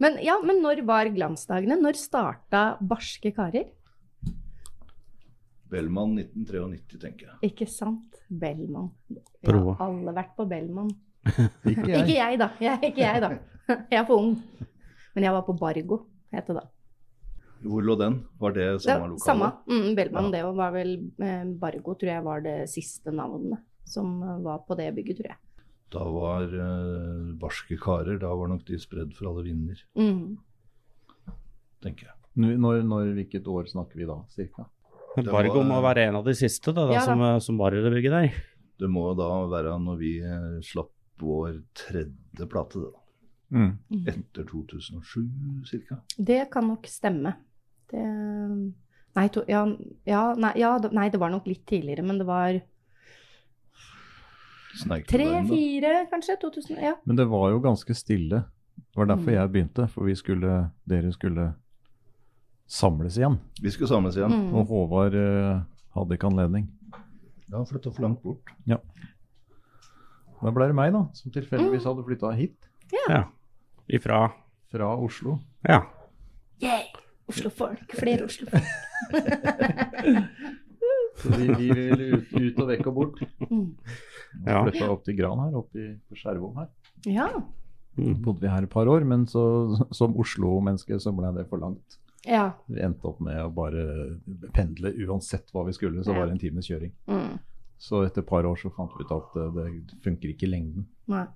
Men, ja, men når var glansdagene? Når starta Barske karer? Bellman 1993, tenker jeg. Ikke sant? Bellman. Vi har Bra. alle vært på Bellman. ikke jeg. Ikke jeg, da. Jeg, ikke jeg, da. Jeg er for ung. Men jeg var på Bargo, het det da. Hvor lå den? Var det Det samme var lokale? samme. Mm, Bellman, Ja. det var vel eh, Bargo, tror jeg var det siste navnet som eh, var på det bygget, tror jeg. Da var eh, barske karer. Da var nok de spredd for alle vinder, Mm. tenker jeg. Nå- Når, når, hvilket år snakker vi da, cirka? Det Bargo var- må være en av de siste da, da, Ja, da. som, eh, som var i det bygget der. Det må da være når vi eh, slapp vår tredje plate, da. Mm. Etter 2007 ca. Det kan nok stemme. Det Nei, to, ja, ja, nei, ja, det- nei, det var nok litt tidligere, men det var tre-fire, kanskje? 2000, ja. Men det var jo ganske stille. Det var derfor Mm. jeg begynte, for vi skulle, dere skulle samles igjen. Vi skulle samles igjen. Mm. Og Håvard eh, hadde ikke anledning. Ja, flytta for langt bort. Da ble det meg, da, som tilfeldigvis Mm. hadde flytta hit Ifra fra Oslo. Ja. Yeah! Oslofolk. Flere Oslofolk. Så vi, vi ville ut, ut og vekk og bort. Mm. Ja. Flytta opp til Gran her, opp i på Skjervom her. Ja. Mm. Bodde vi her et par år, men så, som Oslo-menneske så ble det for langt. ja. Vi endte opp med å bare pendle uansett hva vi skulle, så var det en times kjøring. Mm. Så etter et par år så fant vi ut at eh, det funker ikke i lengden. Nei.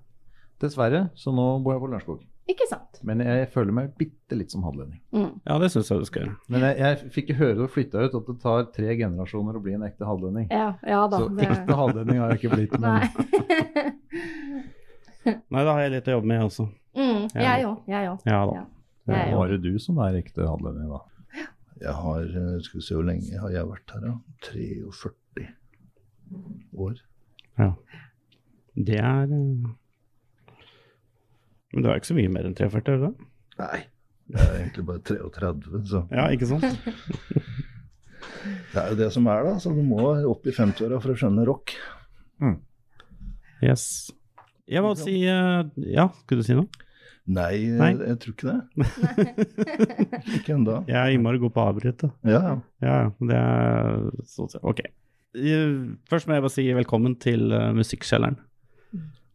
Dessverre, så nå bor jeg på Lørenskog. Ikke sant. Men jeg føler meg bitte litt som hadlending. Mm. ja, det syns jeg du skal gjøre. Men jeg, jeg fikk høre da jeg flytta ut at det tar tre generasjoner å bli en ekte hadlending. Ja, ja da. Så Det, ekte hadlending har jeg ikke blitt. Men nei. Nei, da har jeg litt å jobbe med også. Mm, jeg òg. Jeg òg. Ja da. Ja. det er Jeg òg. bare du som er ekte hadlending, da. Jeg har eh, Skal vi se hvor lenge har jeg vært her, da? 43 år. Det er eh, Men du er ikke så mye mer enn 43, er du det? Nei. Jeg er egentlig bare 33, så Ja, ikke sant? det er jo det som er, da. Så du må opp i 50-åra for å skjønne rock. Yes. Jeg må si eh, Ja, skulle du si noe? Nei, Nei. jeg, tror ikke det. ikke ennå. Jeg er innmari god på å avbryte. Ja, ja. Ja, ja, det er sånn sett. Ok. Eh, Først må jeg bare si velkommen til eh, Musikkkjelleren.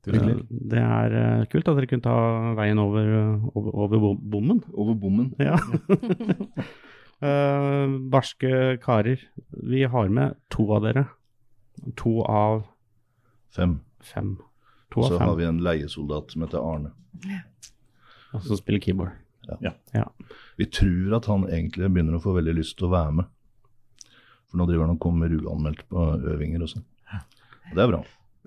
Hyggelig. Eh, Det er eh, kult at dere kunne ta veien over, eh, over, over bom- bommen. Over bommen. Ja. Eh, barske karer. Vi har med to av dere. To av Fem. fem. To Så av har fem vi en leiesoldat som heter Arne. som spiller keyboard. Vi tror at han egentlig begynner å få veldig lyst til å være med. For nå driver han og kommer uanmeldt på øvinger og sånn. Og Det er bra.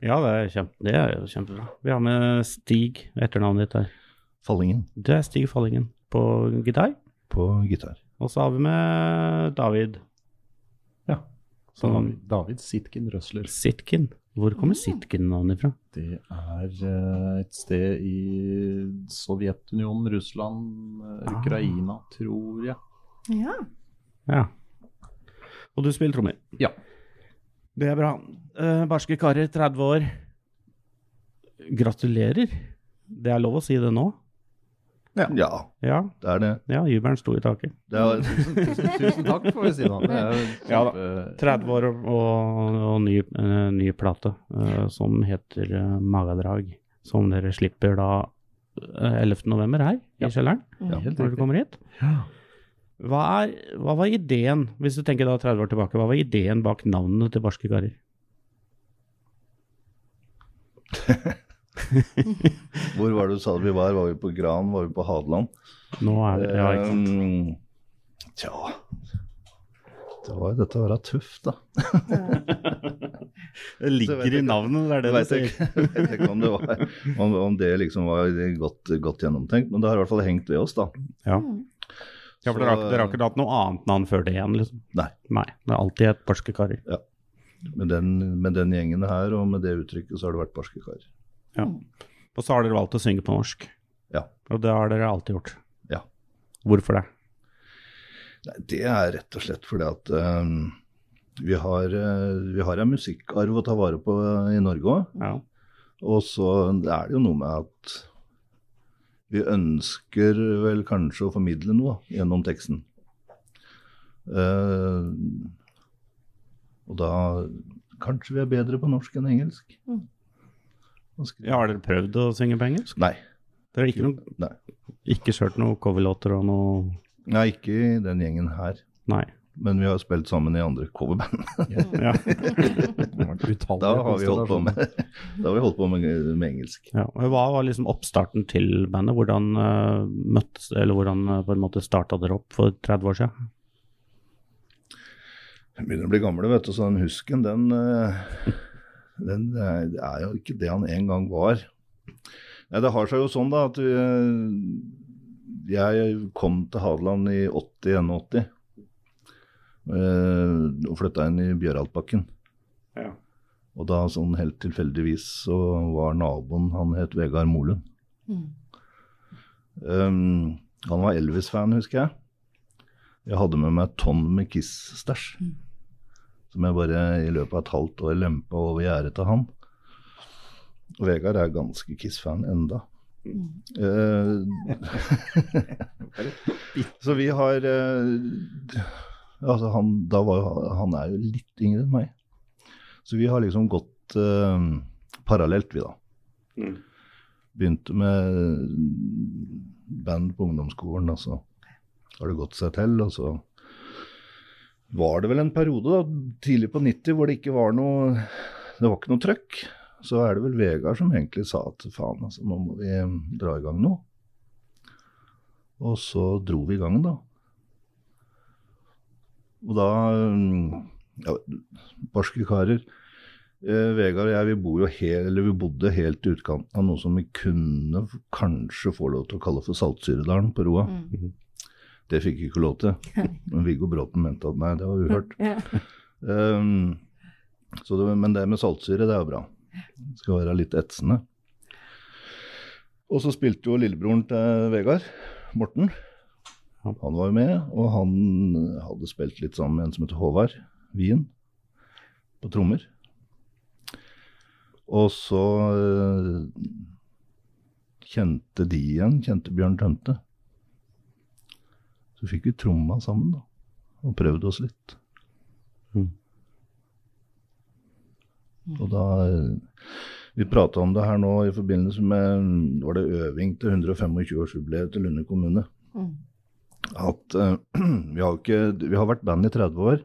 Ja, det er, kjempe, det er jo kjempebra. Vi har med Stig, etternavnet ditt der. Fallingen Det er Stig Fallingen på gitar. på gitar. Og så har vi med David Ja. Mm. Så Som- David Sitkin Røsler. Sitkin. Hvor kommer Sitkin-navnet fra? Det er eh, et sted i Sovjetunionen, Russland, eh, Ah. Ukraina, tror jeg. Ja. Ja. Og du spiller trommer? Ja. Det er bra. Eh, barske karer, 30 år. Gratulerer. Det er lov å si det nå? Ja, Ja, det er det. ja jubelen sto i taket. det er, Tusen takk, får vi si da. Det er Ja da. kjempe- 30 år og, og, og ny, eh, ny plate eh, som heter eh, Magadrag. Som dere slipper da eh, 11. november her Ja. i kjelleren. Ja, helt riktig. når du kommer hit. Ja. Hva, er, hva var ideen, hvis du tenker da 30 år tilbake, hva var ideen bak navnene til Barske karer? hvor var det du sa vi var? Var vi på Gran? Var vi på Hadeland? Nå er det, ja, ikke sant? Ehm, Tja Det var jo dette å være tøff, da. Det så vet jeg ikke. navnet, det Jeg vet ikke, vet ikke om det, var, om, om det liksom var godt, godt gjennomtenkt, men det har i hvert fall hengt ved oss, da. Ja. Mm. Ja, for dere har, ikke- dere har ikke hatt noe annet navn før det igjen, liksom? Nei. Nei, Det er alltid et barske karer. Med den, med den gjengen her og med det uttrykket så har det vært barske kar. Og så har dere valgt å synge på norsk. Ja. Og det har dere alltid gjort. Ja. Hvorfor det? Nei, det er rett og slett fordi at eh, vi har, eh, vi har en musikkarv å ta vare på eh, i Norge òg. Ja. Og så er det jo noe med at vi ønsker vel kanskje å formidle noe gjennom teksten. Eh, og da kanskje vi er bedre på norsk enn engelsk. Mm. Å skrive- ja har dere prøvd å synge på engelsk? Nei. Dere har ikke, noe, Nei. ikke kjørt noen coverlåter og noe Nei, ikke i den gjengen her. Nei. Men vi har spilt sammen i andre coverband. Ja. Da har vi holdt på med, da har vi holdt på med, med engelsk. Ja, og Hva var liksom oppstarten til bandet? Hvordan eh, møttes, eller hvordan eh, på en måte starta dere opp for 30 år siden? Vi begynner å bli gamle, vet du, så den husken, den, eh, den er det er jo ikke det han en gang var. Nei, det har seg jo sånn da at vi, eh, jeg kom til Hadeland i 80-81 eh, og flytta inn i Bjøraltbakken. Ja. Og da sånn helt tilfeldigvis så var naboen, han het Vegard Molund. Mm. Um, han var Elvis-fan, husker jeg. Jeg hadde med meg et tonn med Kiss-stæsj. Mm. Som jeg bare i løpet av et halvt år lempa over gjerdet til han. Og Vegard er ganske Kiss-fan enda. Mm. Eh, så vi har eh, altså han, da var, jo- han er jo litt yngre enn meg. Så vi har liksom gått eh, parallelt, vi da. Mm. Begynte med band på ungdomsskolen, altså. og så har det gått seg til. Og så var det vel en periode da, tidlig på 90 hvor det ikke var noe Det var ikke noe trøkk. Så er det vel Vegard som egentlig sa at faen, altså, nå må vi dra i gang nå. Og så dro vi i gang, da. Og da mm, ja, Barske karer. Eh, Vegard og jeg vi, bor jo he- eller vi bodde helt i utkanten av noe som vi kunne f- kanskje få lov til å kalle for Saltsyredalen på Roa. Mm. Det fikk vi ikke lov til. Men Viggo Bråten mente at nei, det var uhørt. Ja. Ehm, så det, men det med saltsyre, det er jo bra. Det skal være litt etsende. Og så spilte jo lillebroren til Vegard, Morten. Ja. Han var jo med, og han hadde spilt litt sammen med en som heter Håvard Wien, på trommer. Og så eh, kjente de igjen, kjente Bjørn Tømte. Så fikk vi tromma sammen, da, og prøvde oss litt. Mm. Og da Vi prata om det her nå i forbindelse med var det øving til 125-årsjubileet til Lunde kommune. Mm. At eh, vi, har jo ikke, vi har vært band i 30 år.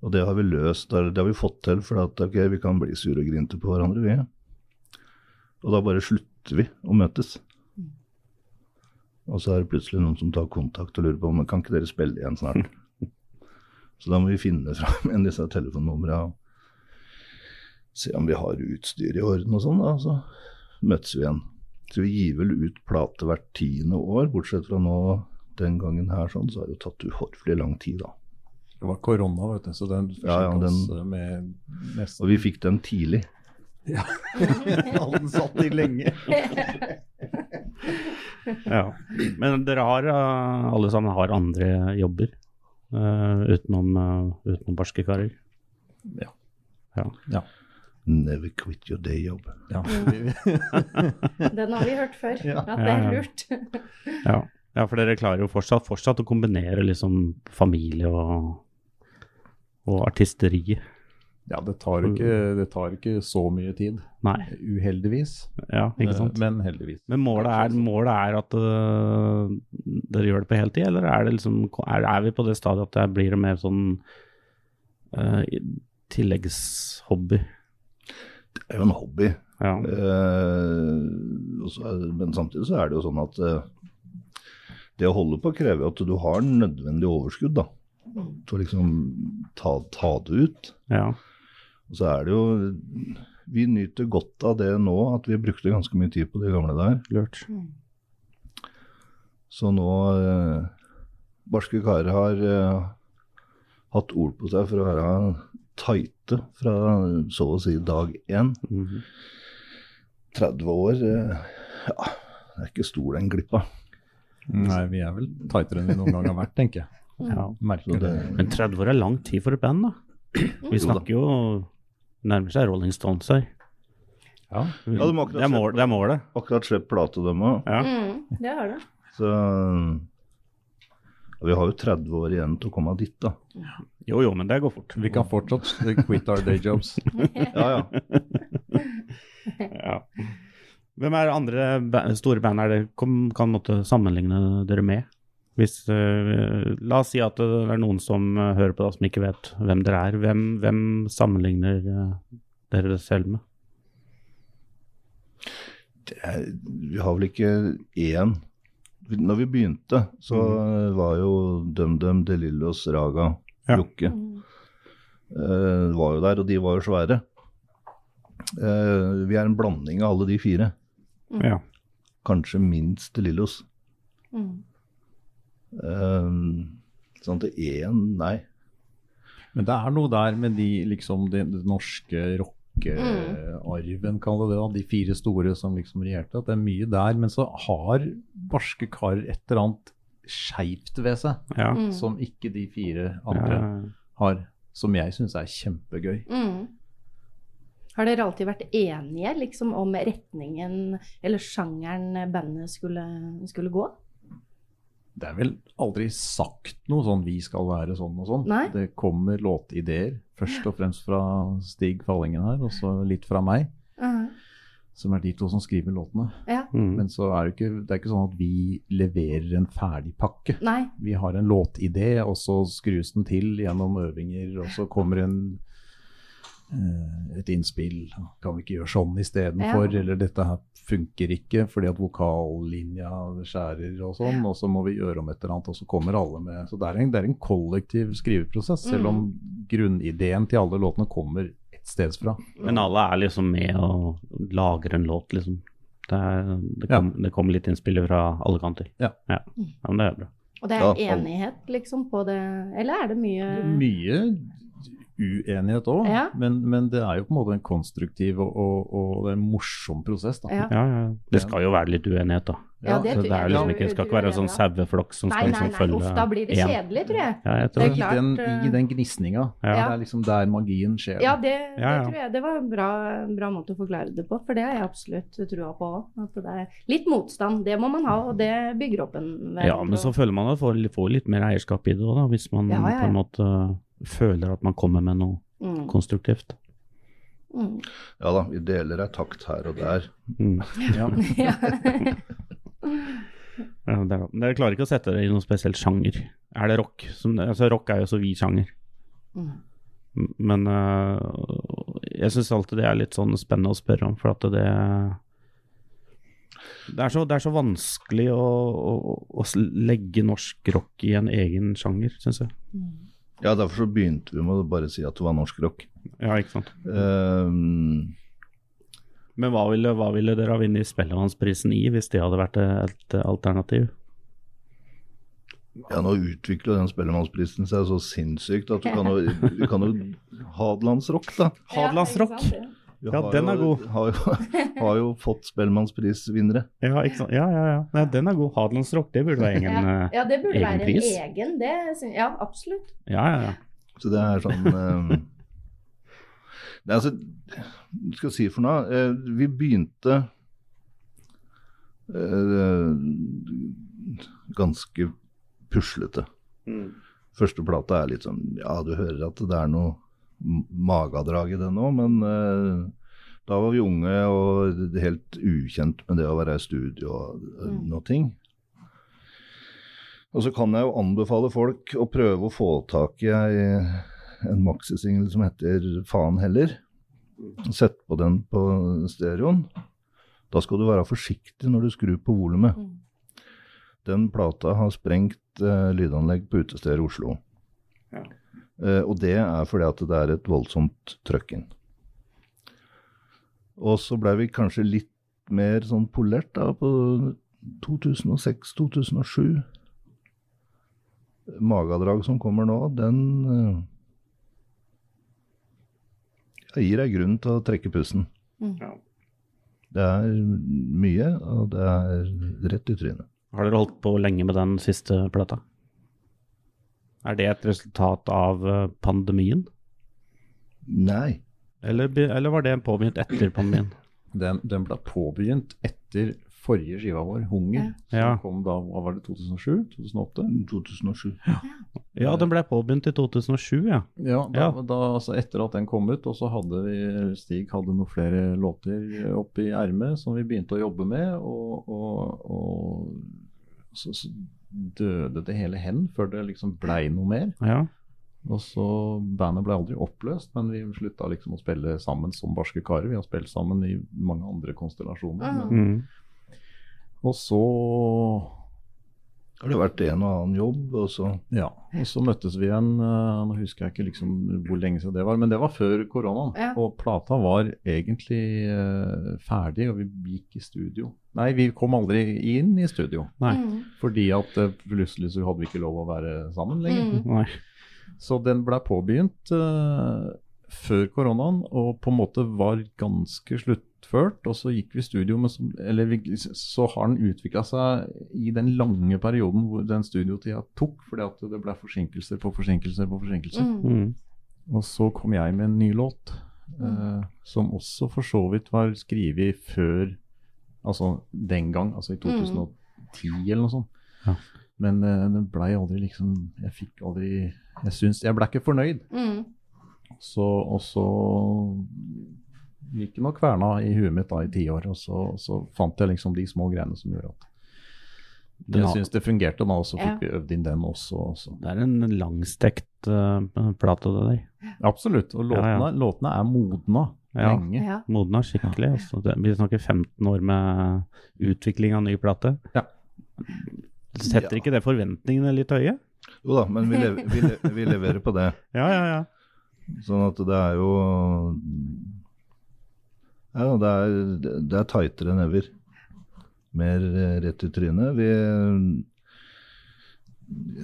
Og det har vi løst, eller det har vi fått til, for at, ok, vi kan bli sure og grinte på hverandre. vi. Og da bare slutter vi å møtes. Og så er det plutselig noen som tar kontakt og lurer på om kan ikke dere spille igjen snart. Så da må vi finne fram igjen disse telefonnumra og se om vi har utstyr i orden og sånn, da. Så møtes vi igjen. Så vi gir vel ut plate hvert tiende år, bortsett fra nå den gangen her, sånn, så har det jo tatt uhorvelig lang tid, da. Det var korona, vet du, så den Ja, ja, forsøkte oss den- eh, med nesten Og vi fikk den tidlig. Han satt i lenge. Ja. Men dere har eh, alle sammen har andre jobber eh, utenom, eh, utenom barske karer. Never quit your day job. Ja, vi, Den har vi hørt før, Ja. at det er lurt. Ja. ja, for dere klarer jo fortsatt, fortsatt å kombinere liksom familie og, og artisteriet. ja det, tar ikke, det tar ikke så mye tid. Nei, Uheldigvis, ja, ikke sant. eh, men heldigvis. Men målet er, målet er at øh, dere gjør det på heltid, eller er, det liksom, er, er vi på det stadiet at det blir mer sånn øh, i- tilleggshobby? Det er jo en hobby. Ja. Eh, og så er- men samtidig så er det jo sånn at eh, det å holde på krever jo at du har nødvendig overskudd, da. Til å liksom ta, ta det ut. ja. Og så er det jo Vi nyter Mm. godt av det nå, at vi brukte ganske mye tid på de gamle der. Lurt. Så nå eh, Barske karer har eh, hatt ord på seg for å være tighte fra så å si dag én. Mhm. 30 år eh, Ja, det er ikke stor den glippa. Nei, vi er vel tightere enn vi noen gang har vært, tenker jeg. ja. Så Merker det, det. Men 30 år er lang tid for et band, da. Vi snakker jo nærmer seg Rolling Stones her. Ja. Ja, de har akkurat det, er mål, det er målet. akkurat sluppet plate, dem òg. Ja. Mm, det har du. Så ja, Vi har jo 30 år igjen til å komme dit, da. Jo, jo, men det går fort. Vi kan fortsatt quit our day jobs. Ja, ja. Ja. Hvem er andre ba store band er det kom, kan måtte sammenligne dere med? Hvis, eh, la oss si at det er noen som eh, hører på deg som ikke vet hvem dere er. Hvem, hvem sammenligner eh, dere dere selv med? Det er, vi har vel ikke én. Når vi begynte, så eh, var jo DumDum, DeLillos, Raga, Ja. Jokke Mm. eh, var jo der, og de var jo svære. Eh, vi er en blanding av alle de fire. Mm. Ja. Kanskje minst DeLillos. Mm. Eh, sånn til én, nei. Men det er noe der med de, liksom, den den norske Mm. rockearven, kall det det, da, de fire store som liksom regjerte. At det er mye der. Men så har barske karer et eller annet skeivt ved seg ja. Mm. som ikke de fire andre ja. har. Som jeg syns er kjempegøy. Mm. Har dere alltid vært enige liksom, om retningen eller sjangeren bandet skulle, skulle gå? Det er vel aldri sagt noe sånn 'vi skal være sånn og sånn'. Nei. Det kommer låtideer, først og fremst fra Stig Fallingen her, og så litt fra meg, som er de to som skriver låtene. Ja. Mm. Men så er det, ikke, det er ikke sånn at vi leverer en ferdig pakke. Nei. Vi har en låtidé, og så skrus den til gjennom øvinger, og så kommer en eh, et innspill. Kan vi ikke gjøre sånn istedenfor? Ja. Eller dette her funker ikke fordi at vokallinja skjærer og sånn. Og så må vi gjøre om et eller annet, og så kommer alle med. Så det er en, det er en kollektiv skriveprosess, selv om grunnideen til alle låtene kommer et sted fra. Men alle er liksom med og lager en låt, liksom. Det, er, det, kom, det kom litt innspill fra alle kanter. Ja. Ja. ja men det er bra. Og det Ja, er alle- enighet liksom, på det Eller er det mye Mye uenighet òg, Eh. Ja. men, men det er jo på en måte en konstruktiv og, og, og det er en morsom prosess. da. Ja. Ja, ja. Det skal jo være litt uenighet, da. Ja, det Så det er jeg liksom tror- ikke, det skal ikke være en sånn saueflokk som Nei, nei, skal liksom nei. følge Uff, da blir det en. kjedelig, tror jeg. Ja, jeg Det tror I er det. klart, den, eh, I den gnisninga. Ja. Det er liksom der magien skjer. Ja, det, Ja, ja. det tror jeg. Det var en bra, en bra måte å forklare det på, for det har jeg absolutt trua på òg. Litt motstand, det må man ha, og det bygger opp en Ja, men så føler man at man får litt mer eierskap i det òg, da. Hvis man Ja, ja, ja. på en måte føler at man kommer med noe mm. konstruktivt. Mm. Ja da, vi deler ei takt her og der. Mm. Ja. Ja. Ja, det er, men dere klarer ikke å sette dere i noen spesiell sjanger. Er det rock? Som, altså, rock er jo så vid sjanger. Mm. M- Men øh, jeg syns alltid det er litt sånn spennende å spørre om, for at det det er, så, det er så vanskelig å, å, å s- legge norsk rock i en egen sjanger, syns jeg. Mm. Ja, derfor så begynte vi med å bare si at det var norsk rock. Ja, ikke sant. Ehm, Men hva ville, hva ville dere ha vunnet Spellemannsprisen i hvis det hadde vært et alternativ? ja, nå utvikler den Spellemannsprisen seg så sinnssykt at du kan jo, du kan jo Hadelandsrock, da. Hadelandsrock! Ja, ikke sant, Vi Ja, har den er jo, god. Har jo, har jo fått Spellemannsprisvinnere. Ja, ikke sant? ja, ja. ja. Nei, den er god. Hadelandsrock, det burde være egen ja. eh, ja, det burde egen være pris. en egen. Det, syn- ja, absolutt. Ja, ja, ja. Så det er sånn ehm, Nei, altså, hva skal jeg si for noe? Eh, vi begynte eh, ganske puslete. Første plata er litt sånn Ja, du hører at det er noe m- magedrag i det nå, men eh, da var vi unge og helt ukjent med det å være i studio og eh, Mm. noe ting. Og så kan jeg jo anbefale folk å prøve å få tak i ei, en maxisingel som heter Faen heller. Sett på den på stereoen. Da skal du være forsiktig når du skrur på volumet. Mm. Den plata har sprengt eh, lydanlegg på utesteder i Oslo. Ja. Eh, og det er fordi at det er et voldsomt trøkk inn. Og så blei vi kanskje litt mer sånn polert da, på 2006-2007. Magadrag som kommer nå, den eh, gir deg grunn til å trekke pusten. Mm. Ja. Det er mye, og det er rett i trynet. Har dere holdt på lenge med den siste plata? Er det et resultat av eh, pandemien, Nei. eller, be- eller var det påbegynt etter pandemien? Den, den ble påbegynt etter forrige skiva vår, 'Hunger', Ja. som kom da hva var det, 2007-2008. 2007. Ja, den ble påbegynt i 2007, ja. Ja, da, Ja. da, altså etter at den kom ut, og så hadde vi, Stig hadde noen flere låter oppi ermet som vi begynte å jobbe med, og, og, og så, så døde det hele hen før det liksom blei noe mer. ja. Og så Bandet ble aldri oppløst, men vi slutta liksom å spille sammen som barske karer. Vi har spilt sammen i mange andre konstellasjoner. Mm. Men, Mm. og så Har det vært en og annen jobb, og så ja, og så møttes vi igjen. eh, Nå husker jeg ikke liksom hvor lenge siden det var, men det var før koronaen. Ja. Og plata var egentlig eh, ferdig, og vi gikk i studio. Nei, vi kom aldri inn i studio. Nei. Mm. Fordi at eh, plutselig så hadde vi ikke lov å være sammen lenger. Mm. Nei. Så den ble påbegynt eh, før koronaen, og på en måte var ganske sluttført. Og så gikk vi i studio, men så, eller vi, så har den utvikla seg i den lange perioden hvor den studiotida tok, fordi at det ble forsinkelser på forsinkelser på forsinkelser. Mm. Mm. Og så kom jeg med en ny låt, Mm. eh, som også for så vidt var skrevet før Altså den gang, altså i Mm. 2010 eller noe sånt. Ja. Men eh, den blei aldri liksom Jeg fikk aldri Jeg syns Jeg blei ikke fornøyd. Mm. Så, og så gikk det nok kverna i huet mitt da i ti år, og så, så fant jeg liksom de små greiene som gjorde at Den Jeg har- syns det fungerte da, og så Ja. fikk vi øvd inn den også. Og så. Det er en langstekt eh, plate, det der. Absolutt. Og låtene, Ja, ja. låtene er modna Ja. lenge. Ja. Modna skikkelig. Altså. Det, vi snakker 15 år med utvikling av ny plate. Ja. Setter ikke det forventningene litt høye? Jo da, men vi, lever, vi, le, vi leverer på det. Ja, ja, ja. Sånn at det er jo Ja, det er, det er tightere enn ever. Mer eh, rett i trynet. Vi er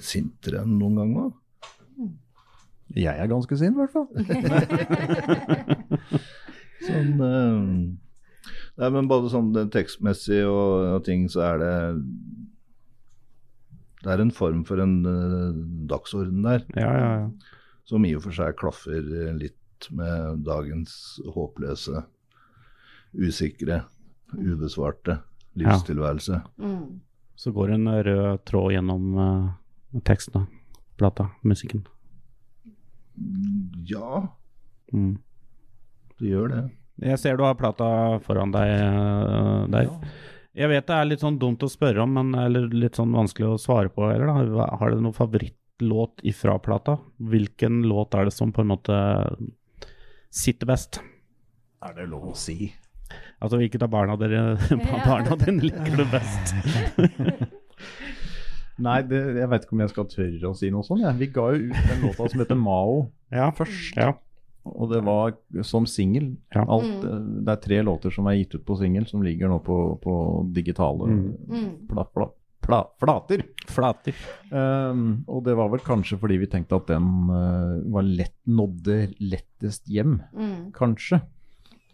sintere enn noen gang òg. Jeg er ganske sint, i hvert fall. Sånn eh, Nei, men både sånn det tekstmessig og, og ting, så er det Det er en form for en eh, dagsorden der. ja, ja, ja. som i og for seg klaffer eh, litt med dagens håpløse, usikre, ubesvarte livstilværelse. Mm. Så går en rød tråd gjennom eh, teksten, da. plata, musikken. Ja, Mm. det gjør det. Jeg ser du har plata foran deg eh, der. Jeg vet det er litt sånn dumt å spørre om, men, eller litt sånn vanskelig å svare på heller. da. Hva- Har du noen favorittlåt ifra plata? Hvilken låt er det som på en måte sitter best? Er det lov å si? Altså hvilket av barna dere barna dine liker du best? Nei, det, jeg veit ikke om jeg skal tørre å si noe sånt. jeg. Vi ga jo ut den låta som heter Mao, Ja, først. Ja. og det var som singel. Ja. Alt, eh, Det er tre låter som er gitt ut på singel, som ligger nå på, på digitale Mm. Mm. pla, pla, pla, flater. Flater. Ehm, og det var vel kanskje fordi vi tenkte at den eh, var lett nådde lettest hjem, Mm. kanskje.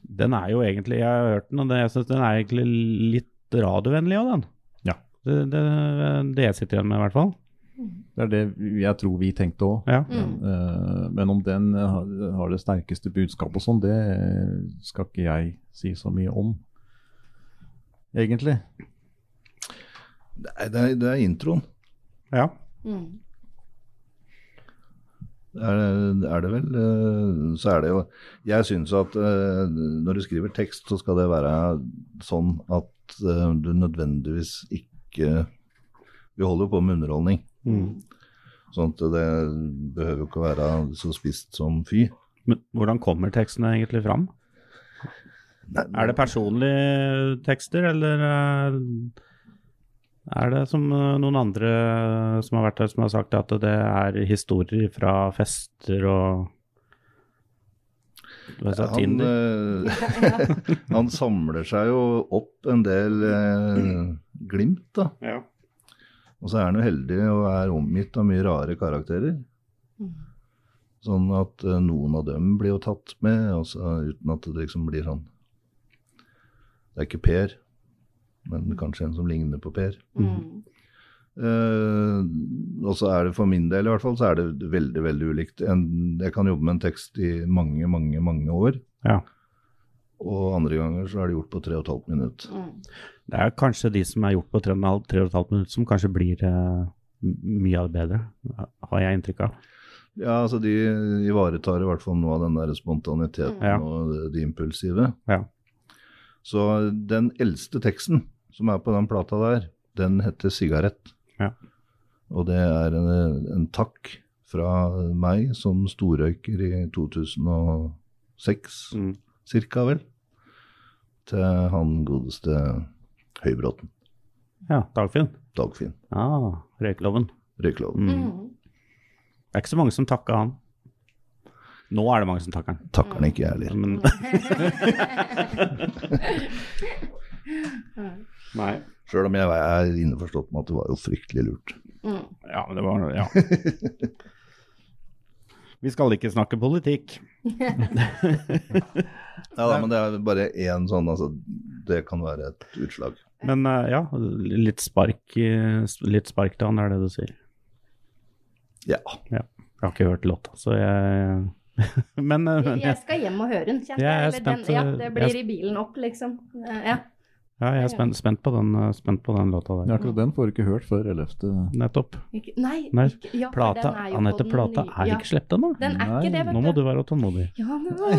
Den er jo egentlig Jeg har hørt den, og det, jeg syns den er egentlig litt radiovennlig òg, den. Ja. Det, det, det jeg sitter igjen med, i hvert fall. Det er det jeg tror vi tenkte òg. Ja. Mm. Eh, Men om den eh, har- har det sterkeste budskapet og sånn, det eh, skal ikke jeg si så mye om, egentlig. Nei, det er, det er introen. ja. Mm. Er det, er det vel eh, Så er det jo Jeg syns at eh, når du skriver tekst, så skal det være sånn at eh, du nødvendigvis ikke Vi holder jo på med underholdning, Mm. sånn at det behøver jo ikke å være så spisst som fy. Men hvordan kommer tekstene egentlig fram? Er det personlige tekster, eller eh, er det som eh, noen andre som har vært her, som har sagt at det er historier fra fester og Hva sa Han, Tinder? eh, han samler seg jo opp en del eh, Glimt, da. Ja. Og så er han jo heldig og er omgitt av mye rare karakterer. Mm. Sånn at eh, noen av dem blir jo tatt med, og så- uten at det liksom blir sånn Det er ikke Per, men kanskje en som ligner på Per. Mm. Eh, og så er det for min del i hvert fall, så er det veldig veldig ulikt. En, jeg kan jobbe med en tekst i mange, mange mange år. Ja. Og andre ganger så er det gjort på tre og et halvt minutt. Mm. Det er kanskje de som er gjort på 3,5 minutter, som kanskje blir eh, mye av det bedre, har jeg inntrykk av. Ja, altså De ivaretar i hvert fall noe av den der spontaniteten Ja. og det, det impulsive. Ja. Så den eldste teksten som er på den plata der, den heter 'Sigarett'. Ja. Og det er en, en takk fra meg som storrøyker i 2006. Mm. cirka vel, til han godeste Høybråten, Ja, Dagfinn. Dagfinn Ah, røykeloven. Røykloven. Mm. Det er ikke så mange som takker han. Nå er det mange som takker han. Takker han ikke, jeg heller. Men, Mm. nei. Sjøl om jeg er innforstått med at det var jo fryktelig lurt. Mm. Ja, men det var Ja. Vi skal ikke snakke politikk. Ja, da, men det er bare én sånn, altså. Det kan være et utslag. Men eh, ja, litt spark, eh, litt spark til han, er det du sier. Ja. Jeg har ikke hørt låta, så jeg Men, eh, men Jeg skal hjem og høre den. kjenner Jeg er Eller den- spent, eh, Ja, det blir jeg- i bilen opp, liksom. Ja. Ja, jeg er spent, spent, på den, eh, spent på den låta Men der. akkurat den får du ikke hørt før 11. Nettopp. Ikke, nei, Nei, ikke, ja, for Plata, den er jo Anette på den Plata nye- er ja. ikke slept ennå. Den er ikke det, vet Nå må du være tålmodig. Ja, nå.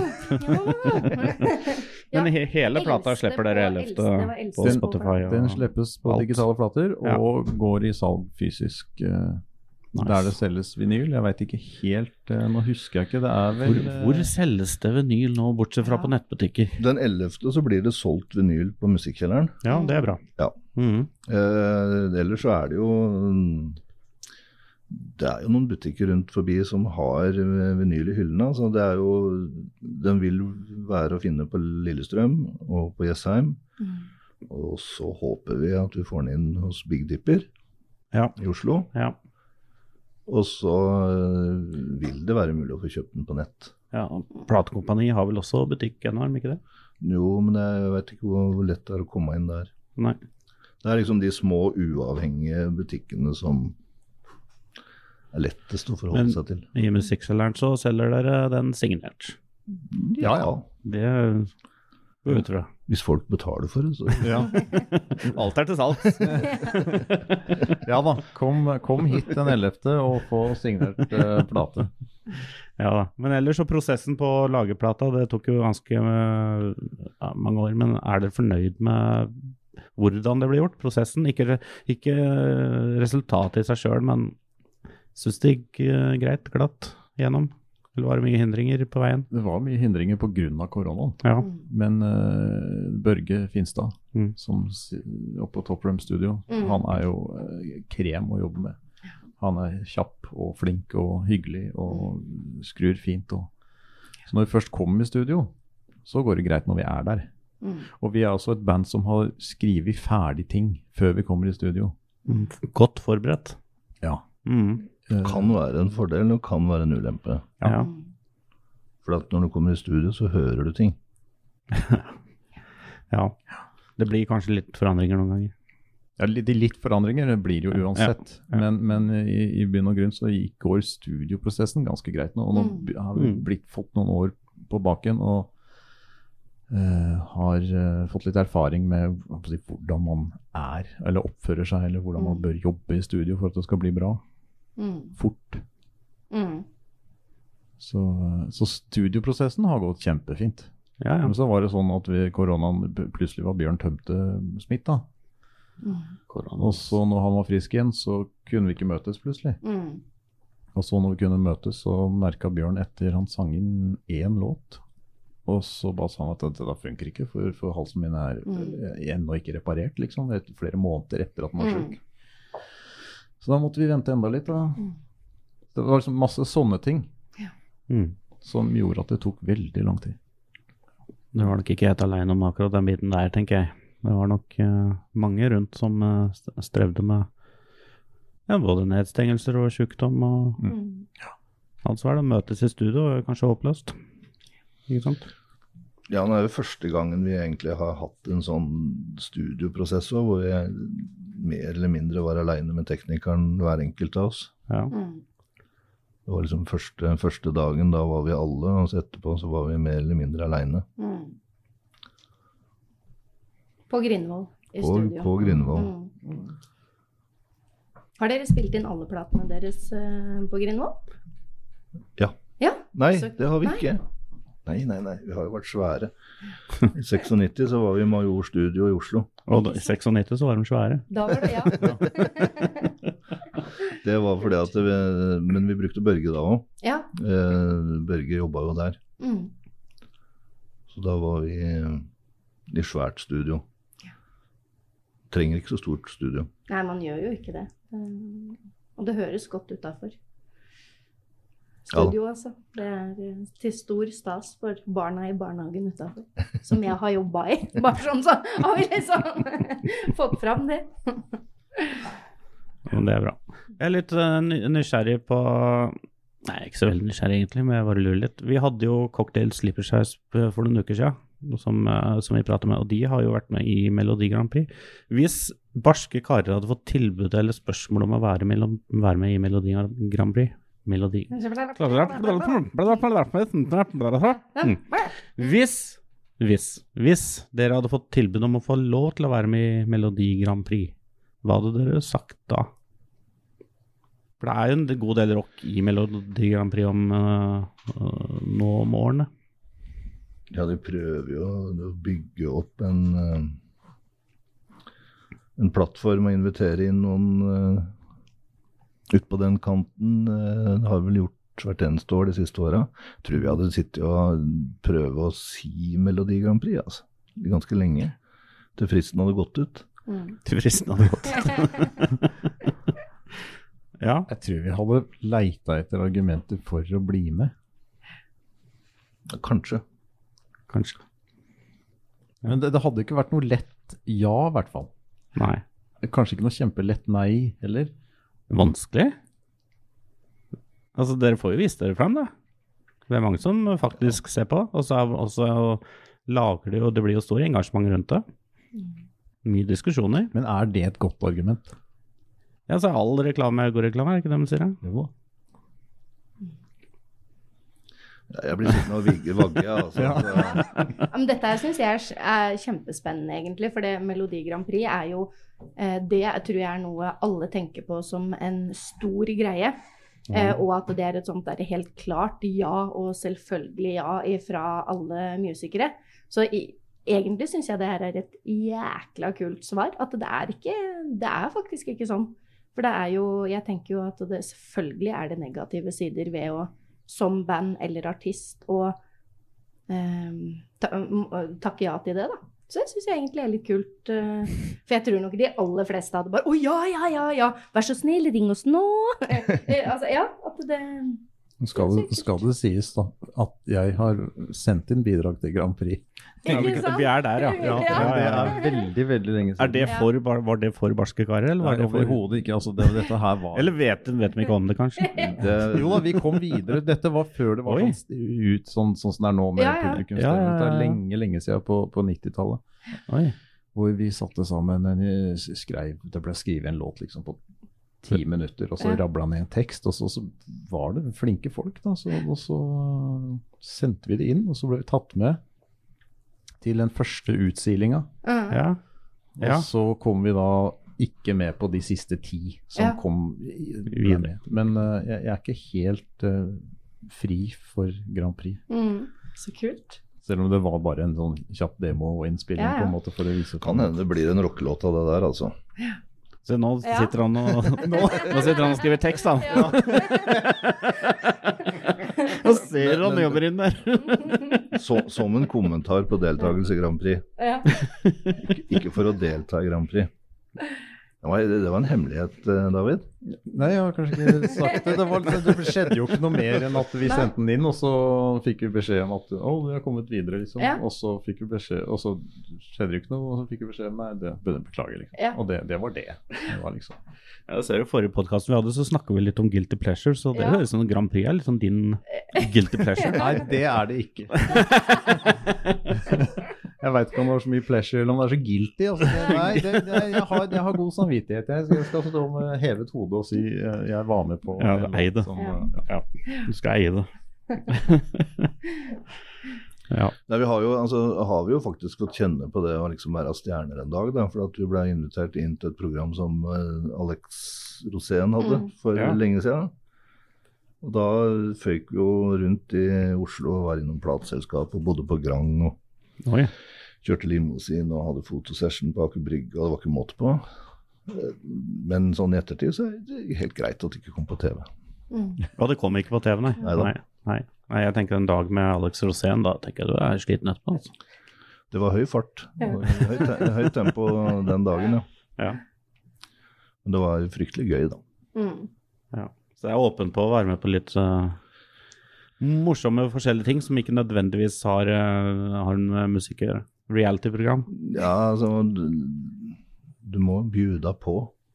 Ja. Men he hele Eldste plata slipper dere på- 11. eldste var eldste på på Spotify. plata. og- Den slippes på alt. digitale flater og går i salg fysisk. eh, Nice. Der det selges vinyl. Jeg veit ikke helt eh, Nå husker jeg ikke, det er vel eh, Hvor, hvor selges det vinyl nå, bortsett fra Ja. på nettbutikker? Den 11. så blir det solgt vinyl på Musikkkjelleren. Ja, det er bra. Ja. Mhm. Eh, ellers så er det jo mm, Det er jo noen butikker rundt forbi som har eh, vinyl i hyllene. Så det er jo Den vil være å finne på Lillestrøm og på Jessheim. Mm. Og så håper vi at vi får den inn hos Big Dipper Ja. i Oslo. Ja. Og så eh, vil det være mulig å få kjøpt den på nett. ja. Platekompani har vel også butikk ennå, har de ikke det? Jo, men jeg vet ikke hvor hvor lett det er å komme inn der. Nei. Det er liksom de små, uavhengige butikkene som er lettest å forholde Men- seg til. I musikkselgeren så selger dere den signert. Ja, ja. Det vet du. Hvis folk betaler for det, så ja. Alt er til salgs. eh, ja da, kom, kom hit den 11. og få signert eh, plate. Ja da. Men ellers så prosessen på å lage plata, det tok jo ganske eh, ja, mange år. Men er dere fornøyd med hvordan det ble gjort? Prosessen? Ikke, re- ikke eh, resultatet i seg sjøl, men syns det gikk eh, greit, glatt gjennom? Eller var det mye hindringer på veien? Det var mye hindringer pga. koronaen. Ja. Mm. Men eh, Børge Finstad, Mm. som si- oppe på Top Room Studio, Mm. han er jo eh, krem å jobbe med. Han er kjapp og flink og hyggelig og skrur fint. Og. Så når vi først kommer i studio, så går det greit når vi er der. Mm. Og vi er også et band som har skrevet ferdig ting før vi kommer i studio. Godt forberedt. Ja. Mm. Eh, kan være en fordel og kan være en ulempe. Ja. Ja. For at når du kommer i studio, så hører du ting. ja. Det blir kanskje litt forandringer noen ganger. Ja, li- de litt forandringer eh, blir jo uansett, ja. men, men eh, i, i bunn og grunn så gikk går studioprosessen ganske greit nå. Og nå Mm. b- har vi Mm. blitt, fått noen år på baken og eh, har eh, fått litt erfaring med hva skal jeg si, hvordan man er, eller oppfører seg, eller hvordan man Mm. bør jobbe i studio for at det skal bli bra Mm. fort. Mm. Så, eh, så studioprosessen har gått kjempefint. Ja, ja. Men så var det sånn at ved koronaen p- plutselig var Bjørn Tømte smitta. Mm. Og så når han var frisk igjen, så kunne vi ikke møtes plutselig. Mm. Og så når vi kunne møtes, så merka Bjørn etter han sang inn én låt. Og så bare sa han at dette da funker ikke, for, for halsen min er Mm. eh, ennå ikke reparert, liksom. Et, flere måneder etter at han var Mm. sjuk. Så da måtte vi vente enda litt. Da. Mm. Det var liksom masse sånne ting Mm. som gjorde at det tok veldig lang tid. Det var nok ikke helt aleine om akkurat den biten der, tenker jeg. Det var nok eh, mange rundt som eh, st- strevde med ja, både nedstengelser og sykdom og Mm. alt svært. Å møtes i studio er kanskje håpløst. Ikke sant? Ja, det er jo første gangen vi egentlig har hatt en sånn studioprosess også, hvor vi mer eller mindre var aleine med teknikeren, hver enkelt av oss. Ja. Mm. Det var liksom første, første dagen, da var vi alle, og så etterpå så var vi mer eller mindre aleine Mm. På Grindvoll i på, studio. på Grindvoll. Mm. Har dere spilt inn alle platene deres eh, på Grindvoll? Ja. Ja? Nei, Så- det har vi nei. ikke. Nei, nei, nei, vi har jo vært svære. I 96 så var vi i Major Studio i Oslo. Og da, i 96 så var de svære. Da var det ja. Det var fordi at vi, Men vi brukte Børge da òg. ja. Eh, Børge jobba jo der. Mm. Så da var vi i svært studio. Trenger ikke så stort studio. Nei, man gjør jo ikke det. Eh, Og det høres godt utafor. Ja da. Studio, altså. Det er eh, til stor stas for barna i barnehagen utafor. Som jeg har jobba i. Bare sånn, så har vi liksom fått fram det. Men det er bra. Jeg er litt eh, ny- nysgjerrig på Nei, ikke så veldig nysgjerrig egentlig, men jeg bare lurer litt. Vi hadde jo Cocktail Slipper Size p- for noen uker siden, som, eh, som vi pratet med, og de har jo vært med i Melodi Grand Prix. Hvis barske karer hadde fått tilbud eller spørsmål om å være, mellom, være med i Melodi Grand Prix Melodi Hvis hvis, hvis dere hadde fått tilbud om å få lov til å være med i Melodi Grand Prix, hva hadde dere sagt da? For det er jo en god del rock i Melodi Grand Prix om eh, eh, nå om årene. Ja, de prøver jo å bygge opp en eh, en plattform og invitere inn noen eh, ut på den kanten. eh, Det har vi vel gjort hvert eneste år de siste åra. Tror vi hadde sittet og prøvd å si Melodi Grand Prix altså. ganske lenge. Til fristen hadde gått ut. Mm. Til fristen hadde gått. ja. Jeg tror vi hadde leita etter argumenter for å bli med. Kanskje. Kanskje. Men det, det hadde ikke vært noe lett ja, i hvert fall. Nei. Kanskje ikke noe kjempelett nei heller. Vanskelig? Altså, dere får jo vise dere fram, da. Det er mange som faktisk ser på, og så, er- og så lager det jo Det blir jo stor engasjement rundt det. Mye diskusjoner. Men er det et godt argument? Ja, så er all reklame god reklame, er det ikke det de sier? da? Jo da. Ja, Jeg blir sittende og vigge vagge, altså. Så, Ja, men dette syns jeg er, s- er kjempespennende, egentlig. For det Melodi Grand Prix er jo eh, Det tror jeg er noe alle tenker på som en stor greie. Eh, og at det er et sånt der helt klart ja, og selvfølgelig ja fra alle musikere. Så i, egentlig syns jeg det her er et jækla kult svar. At det er ikke Det er faktisk ikke sånn. For det er jo Jeg tenker jo at det selvfølgelig er det negative sider ved å som band eller artist å eh, ta, m- å takke ja til det, da. Så det syns jeg egentlig er litt kult. eh, For jeg tror nok de aller fleste hadde bare Å ja, ja, ja, ja, vær så snill, ring oss nå. Eh, altså, ja, at det Nå Skal det, skal det sies da at jeg har sendt inn bidrag til Grand Prix? Ikke sant? Vi er der, ja. Ja, Det ja, er veldig, veldig lenge siden. Er det for, bar- var det for barske karer, eller var Nei, det for overhodet ikke. Altså, det, dette her var Eller vet, vet de ikke om det, kanskje? det, Jo da, vi kom videre. Dette var før det var Oi. sånn, st- ut sånn, sånn som det er nå med Ja, ja. publikumsstøy. Ja, ja, Det er ja. lenge, lenge siden på, på 90-tallet. Oi. Hvor vi satte sammen en, eh, s- skrev, Det ble skrevet en låt liksom på ti minutter, og så Ja. rabla ned en tekst. Og så, så var det flinke folk, da. Så, og så sendte vi det inn, og så ble vi tatt med til den første utsilinga. Mm. Ja. Og Ja. så kom vi da ikke med på de siste ti som Ja. kom i- Videre. med. Men eh, jeg, jeg er ikke helt eh, fri for Grand Prix. Mm. Så kult. Selv om det var bare en sånn kjapp demo og innspilling Ja, ja. på en måte for å vise kan hende det blir en rockelåt av det der, altså. Så nå Ja. sitter han og Nå, nå sitter han og skriver tekst, da. Ja. Og ser han jobber inn der. Så, som en kommentar på deltakelse i Grand Prix. Ja. Ikke for å delta i Grand Prix. Det var, det var en hemmelighet, eh, David. Nei, jeg har kanskje ikke sagt det. Det, var, sånn, det skjedde jo ikke noe mer enn at vi Nei. sendte den inn, og så fikk vi beskjed om at å, vi har kommet videre, liksom. Ja. Og så fikk vi beskjed, og så skjedde det jo ikke noe, og så fikk vi beskjed om nei, det beklager, liksom. Ja. Og det, det var det. det var liksom. Ja, jeg ser jo forrige podkast vi hadde, så snakka vi litt om guilty pleasure. Så det Ja. høres ut som Grand Prix er litt sånn din guilty pleasure. Nei, det er det ikke. Jeg veit ikke om det var så mye pleasure eller om det er så guilty. Altså. Det- Nei, det, det, jeg, har, jeg har god samvittighet. Jeg skal, jeg skal stå med hevet hode og si eh, jeg var med på Ja, en ei låt det. som, Ja. eh, ja. Du skal eie det. ja. Nei, vi har, jo, altså, har vi jo faktisk fått kjenne på det å liksom være stjerner en dag. Da, for at vi ble invitert inn til et program som eh, Alex Rosén hadde Mm. for Ja. lenge siden. Og da føyk vi jo rundt i Oslo og var innom plateselskap og bodde på Grang og Oi. kjørte limousin og hadde fotosession på Aker Brygge, og det var ikke måte på. Eh, Men sånn i ettertid så er det helt greit at det ikke kom på TV. Mm. Og det kom ikke på TV, nei. Neida. Nei, nei. nei jeg tenker en dag med Alex Rosén, da tenker jeg du er sliten etterpå. Altså. Det var høy fart. Det var Høyt te høyt tempo den dagen, ja. Ja. Men det var fryktelig gøy, da. Mm. Ja. Så jeg er åpen på å være med på litt eh, morsomme forskjellige ting som ikke nødvendigvis har, eh, har med musikk å gjøre. Reality-program. Ja, altså Du, du må bjuda på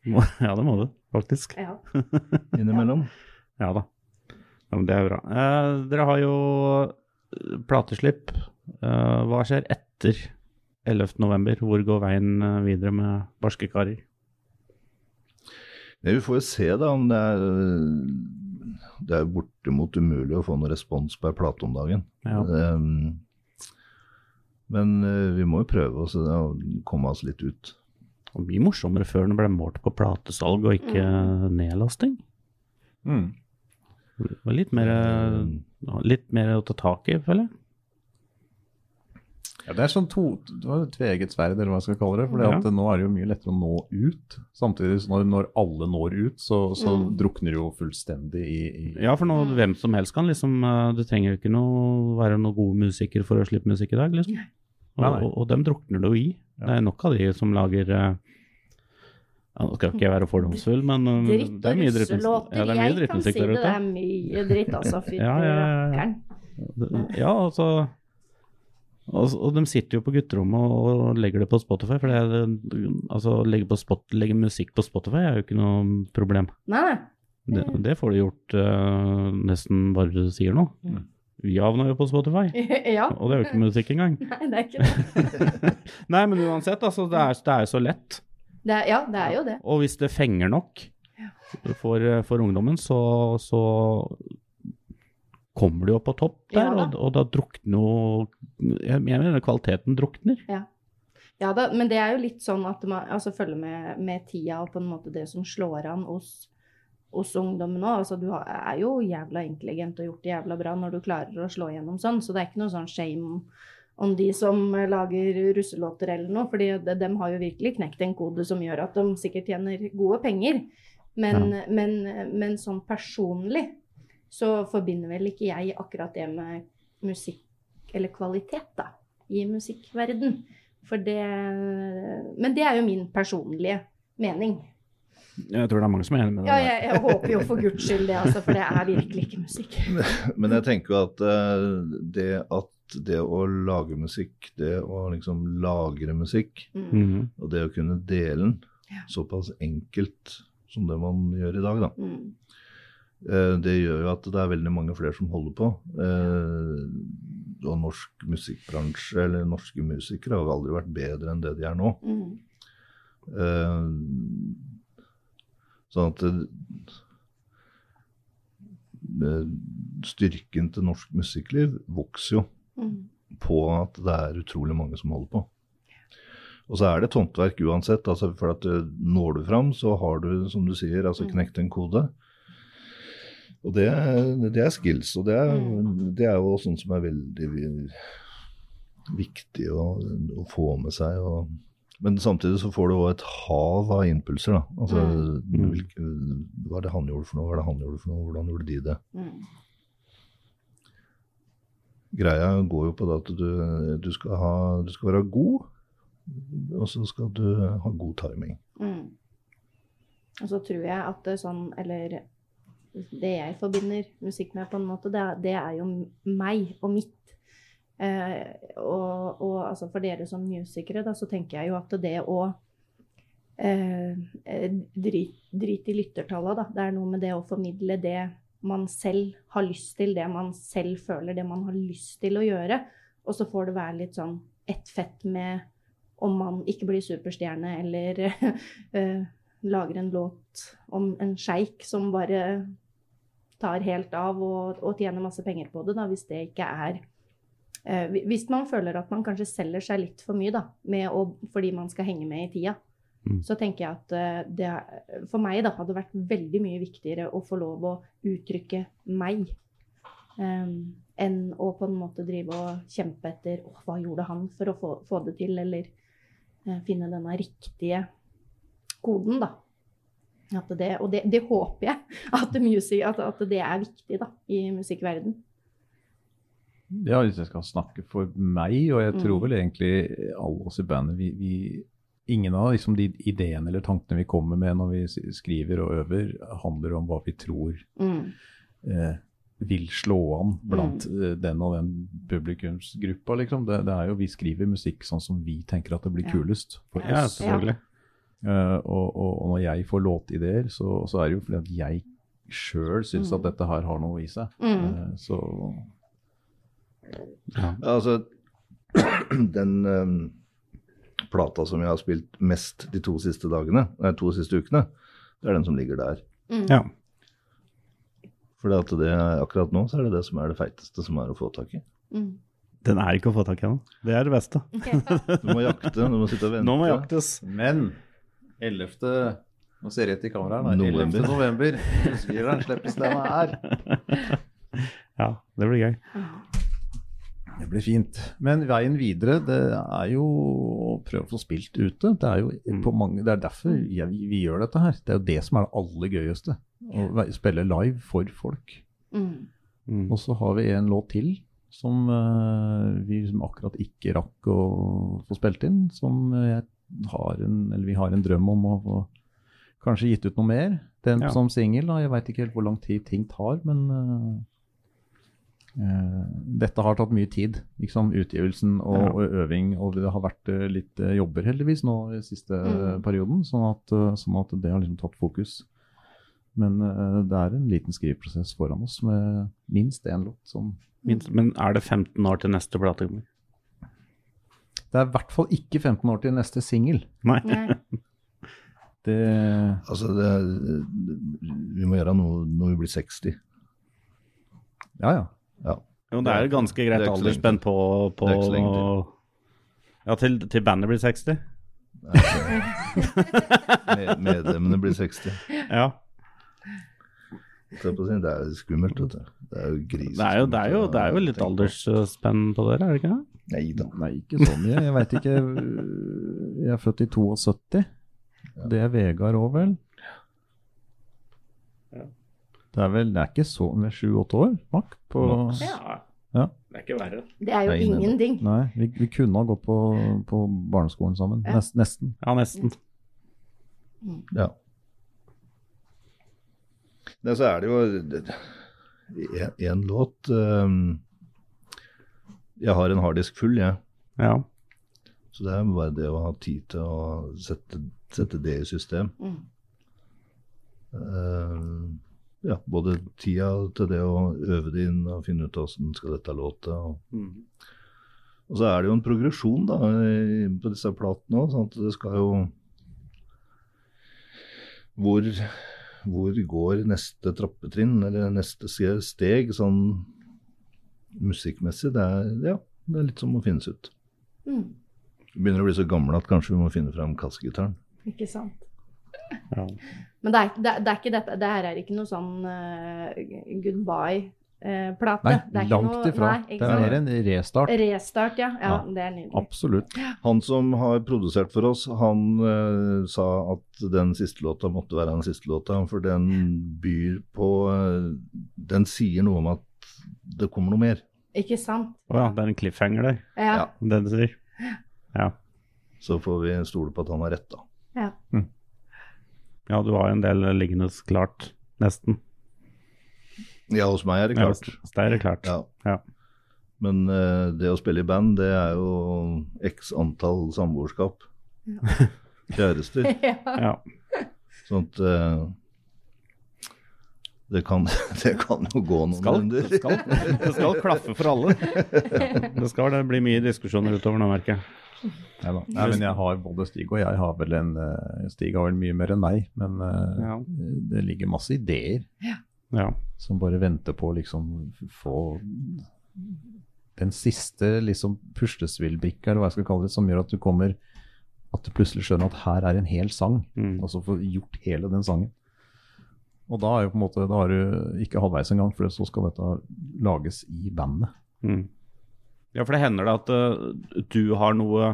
Ja, det må du, faktisk. Ja. innimellom. Ja da. Ja, men det er bra. Eh, dere har jo eh, plateslipp. Eh, hva skjer etter 11. november? Hvor går veien eh, videre med Barske karer? Nei, vi får jo se, da, om det er øh, Det er jo bortimot umulig å få noen respons på ei plate om dagen. Ja. Ehm, men øh, vi må jo prøve oss å komme oss litt ut. Og mye morsommere før den ble målt på platesalg og ikke nedlasting. Mm. Det var litt mer, Ehm, eh, litt mer å ta tak i, føler jeg. Ja, det er sånn to, det var et tveegget sverd, eller hva jeg skal kalle det. For Ja. nå er det jo mye lettere å nå ut. Samtidig så når, når alle når ut, så, så Mm. drukner det jo fullstendig i, i Ja, for nå, hvem som helst kan liksom eh, Du trenger jo ikke noe, være noen god musiker for å slippe musikk i dag, liksom. Og, Nei, nei. og, og dem drukner det jo i. Det er nok av de som lager eh, ja, Nå skal ikke jeg være fordomsfull, men eh, Dritt det er og mye drittmusikk. russelåter. Ja, det er mye jeg kan si drittmusikk det. der Det ute. er mye dritt, altså. Fytti Ja, ja, ja, ja. rakkeren. Det- Ja, altså og, og de sitter jo på gutterommet og, og legger det på Spotify. For det er, altså, å legge, på spot, legge musikk på Spotify er jo ikke noe problem. Nei, nei. Det, det får du gjort eh, nesten bare du sier noe. Mm. Vi havna jo på Spotify. Ja. Og det er jo ikke musikk engang. Nei, det er ikke det. Nei, men uansett, altså, det er, det er jo så lett. det er, ja, det er jo det. Og hvis det fenger nok for, eh, for ungdommen, så, så kommer du jo på topp der, Ja da. og, og da drukner jo Jeg mener kvaliteten drukner. Ja da, men det er jo litt sånn at man altså, følger med, med tida og på en måte det som slår an hos, hos ungdommen òg. Altså, du har, er jo jævla intelligent og gjort det jævla bra når du klarer å slå gjennom sånn, så det er ikke noe sånn shame om de som lager russelåter eller noe, fordi de, dem har jo virkelig knekt en kode som gjør at de sikkert tjener gode penger. Men, men, men sånn personlig så forbinder vel ikke jeg akkurat det med musikk, eller kvalitet, da, i musikkverden. For det Men det er jo min personlige mening. Jeg tror det er mange som er enig med Ja, jeg, jeg håper jo for guds skyld det, altså, for det er virkelig ikke musikk. Men jeg tenker jo at eh, det at det å lage musikk, det å liksom lagre musikk, Mm. Mhm. og det å kunne dele den Ja. såpass enkelt som det man gjør i dag, da. Mm. Eh, Det gjør jo at det er veldig mange flere som holder på. Eh, Og norsk musikkbransje, eller norske musikere, har aldri vært bedre enn det de er nå. Mm. Eh, Sånn at eh, styrken til norsk musikkliv vokser jo Mm. på at det er utrolig mange som holder på. Og så er det et håndverk uansett. Altså for at eh, når du fram, så har du, som du sier, altså Mm. knekt en kode. Og det, er- det er skills, og det er, Mm. det er jo sånn som er veldig vi- viktig å, å få med seg. Og, men samtidig så får du òg et hav av impulser, da. Altså, Mm. hvilke, hva er det han gjorde for noe, hva er det han gjorde for noe, hvordan gjorde de det? Mm. Greia går jo på det at du, du, skal, ha, du skal være god, og så skal du ha god timing. Mm. Og så tror jeg at det er sånn, eller det jeg forbinder musikk med, på en måte, det er, det er jo meg og mitt. Eh, og og altså for dere som musikere, da, så tenker jeg jo at det å eh, drit, drit i lyttertallene, da. Det er noe med det å formidle det man selv har lyst til, det man selv føler, det man har lyst til å gjøre. Og så får det være litt sånn ett fett med om man ikke blir superstjerne eller eh, lager en låt om en sjeik som bare tar helt av og, og tjener masse penger på det, da, hvis det ikke er eh, Hvis man føler at man kanskje selger seg litt for mye da, med å, fordi man skal henge med i tida, Mm. så tenker jeg at eh, det er- for meg da, hadde vært veldig mye viktigere å få lov å uttrykke meg em, enn å på en måte drive og kjempe etter «Åh, hva gjorde han for å få, få det til, eller eh, finne denne riktige koden, da. At det, og det, det håper jeg, at, music, at, at det er viktig da, i musikkverden. Ja, hvis jeg skal snakke for meg, og jeg tror Mm. vel egentlig alle oss i bandet vi, vi, Ingen av liksom, de ideene eller tankene vi kommer med når vi s- skriver og øver, handler om hva vi tror Mm. eh, vil slå an blant Mm. eh, den og den publikumsgruppa. Liksom. Det, det er jo, vi skriver musikk sånn som vi tenker at det blir Ja. kulest for Ja, oss. selvfølgelig. Eh, og, og, og når jeg får låtideer, så, så er det jo fordi at jeg sjøl syns at Mm. dette her har noe i seg. Mm. Eh, så Ja. Ja, Altså, den ehm, plata som jeg har spilt mest de to siste dagene, nei, to siste ukene, det er den som ligger der. Mm. Ja. For akkurat nå så er det det som er det feiteste som er å få tak i. Mm. Den er ikke å få tak i ennå. Det er det beste. Du må jakte, du må sitte og vente. Nå må jaktes. Men 11. Nå ser jeg rett i kameraet. da. 11. November. november. Huskeren slippes denne her. Ja, det blir gøy. Mm. Det blir fint. Men veien videre, det er jo å prøve å få spilt ute. Det er jo på mange, det er derfor jeg, vi gjør dette her. Det er jo det som er det aller gøyeste. Å være- spille live for folk. Mm. Mm. Og så har vi en låt til som eh, vi liksom akkurat ikke rakk å få spilt inn. Som jeg har en, eller vi har en drøm om å få kanskje gitt ut noe mer. Den Ja. som singel, da. Jeg veit ikke helt hvor lang tid ting tar, men eh, eh, dette har tatt mye tid. Liksom utgivelsen og, Ja. og øving, og det har vært eh, litt eh, jobber heldigvis nå i siste eh, Mm. perioden, sånn at, eh, sånn at det har liksom tatt fokus. Men eh, det er en liten skriveprosess foran oss med minst én låt. Som Minst, men er det 15 år til neste plate kommer? det er i hvert fall ikke 15 år til neste singel. Nei. Nei. Det Altså, det, vi må gjøre noe når vi blir 60. Ja, ja. Jo, det er jo ganske greit Det er ikke så lenge aldersspenn på, på Det er ikke så lenge til. Ja, til, til bandet blir 60. Altså, Med- Medlemmene blir 60. Ja. Se på sin, Det er skummelt, vet du. Det er jo gris. Det er jo, det er jo, det er jo litt aldersspenn på dere, er det ikke det? Nei da. Nei, ikke så mye. Jeg veit ikke Jeg er født i 72. Det er Vegard òg, vel? Ja. Det er vel det er ikke så med sju-åtte år, Mark? På, Maks. Ja. Det er ikke verre. Det er jo Nei, nei, nei. ingenting. nei, vi, vi kunne ha gått på, på barneskolen sammen. Ja. Nest, nesten. Ja, nesten. Ja. Nei, så er det jo én låt ehm, Jeg har en harddisk full, jeg. Ja. Så det er bare det å ha tid til å sette, sette det i system. Mm. Ehm, ja, både tida til det å øve det inn og finne ut åssen skal dette låte. Og, og så er det jo en progresjon da, i- på disse platene òg, sånn at det skal jo hvor, hvor går neste trappetrinn, eller neste se- steg, sånn musikkmessig? Det er, ja, det er litt som å finnes ut. Mm. Vi begynner å bli så gamle at kanskje vi må finne fram kassegitaren. Ikke sant. Ja. Men det er, det, er- det er ikke dette, det her er ikke noe sånn eh, goodbye-plate. Nei, det er ikke langt noe- ifra. Nei, det ikke er sant? mer en restart. Restart, ja. ja. Ja. Det er nydelig. Absolutt. Han som har produsert for oss, han eh, sa at den siste låta måtte være den siste låta, for den byr på eh, Den sier noe om at det kommer noe mer. Ikke sant? Å ja, det er en cliffhanger der, Ja. det du sier. Ja. Så får vi stole på at han har rett, da. Ja, du har jo en del liggende klart, nesten. Ja, hos meg er det klart. Ja, det er det klart. Ja. Ja. Men eh, det å spille i band, det er jo x antall samboerskap. Kjærester. ja. Ja. Sånn at eh, det, kan, det kan jo gå noen Skal, runder. det, skal, det skal klaffe for alle. Det skal det bli mye diskusjoner utover nå, merker jeg. Nei, da. Nei, men jeg har både Stig og jeg har vel en eh, Stig har vel mye mer enn meg, men eh, Ja. det ligger masse ideer Ja. som bare venter på å liksom få den siste liksom puslespillbrikka, eller hva jeg skal kalle det, som gjør at du kommer At du plutselig skjønner at her er en hel sang, Mm. og så får gjort hele den sangen. Og da er jo på en måte, da er du ikke halvveis engang, for så skal dette lages i bandet. Mm. Ja, for det hender det at eh, du har noe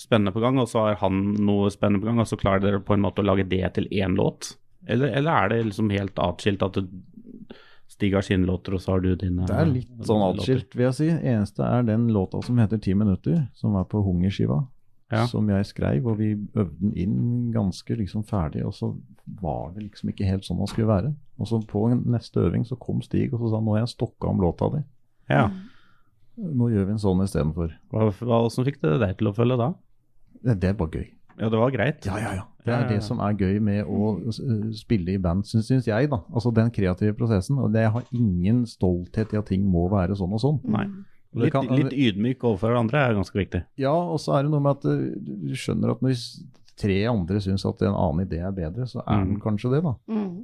spennende på gang, og så har han noe spennende på gang, og så klarer dere på en måte å lage det til én låt? Eller, eller er det liksom helt atskilt at du Stig har sine låter, og så har du dine Det er litt sånn atskilt, vil jeg si. Eneste er den låta som heter 10 minutter, som er på Hungerskiva. Ja. Som jeg skreiv, og vi øvde den inn ganske liksom ferdig. Og så var det liksom ikke helt sånn den skulle være. Og så på en- neste øving så kom Stig og så sa han, nå har jeg stokka om låta di. Ja. Nå gjør vi en sånn istedenfor. Hva, hva, hvordan fikk det deg til å følge da? Det, det er bare gøy. Ja, det var greit. Ja, ja, ja. Det Ja, er ja, ja. det som er gøy med å eh, spille i band, syns, syns jeg, da. Altså den kreative prosessen. Og det jeg har ingen stolthet i at ting må være sånn og sånn. Nei. Det Litt, kan- litt ydmyk overfor hverandre er ganske viktig. Ja, og så er det noe med at eh, du du skjønner at når s- tre andre syns at en annen idé er bedre, så er den Mm. kanskje det, da. Mm.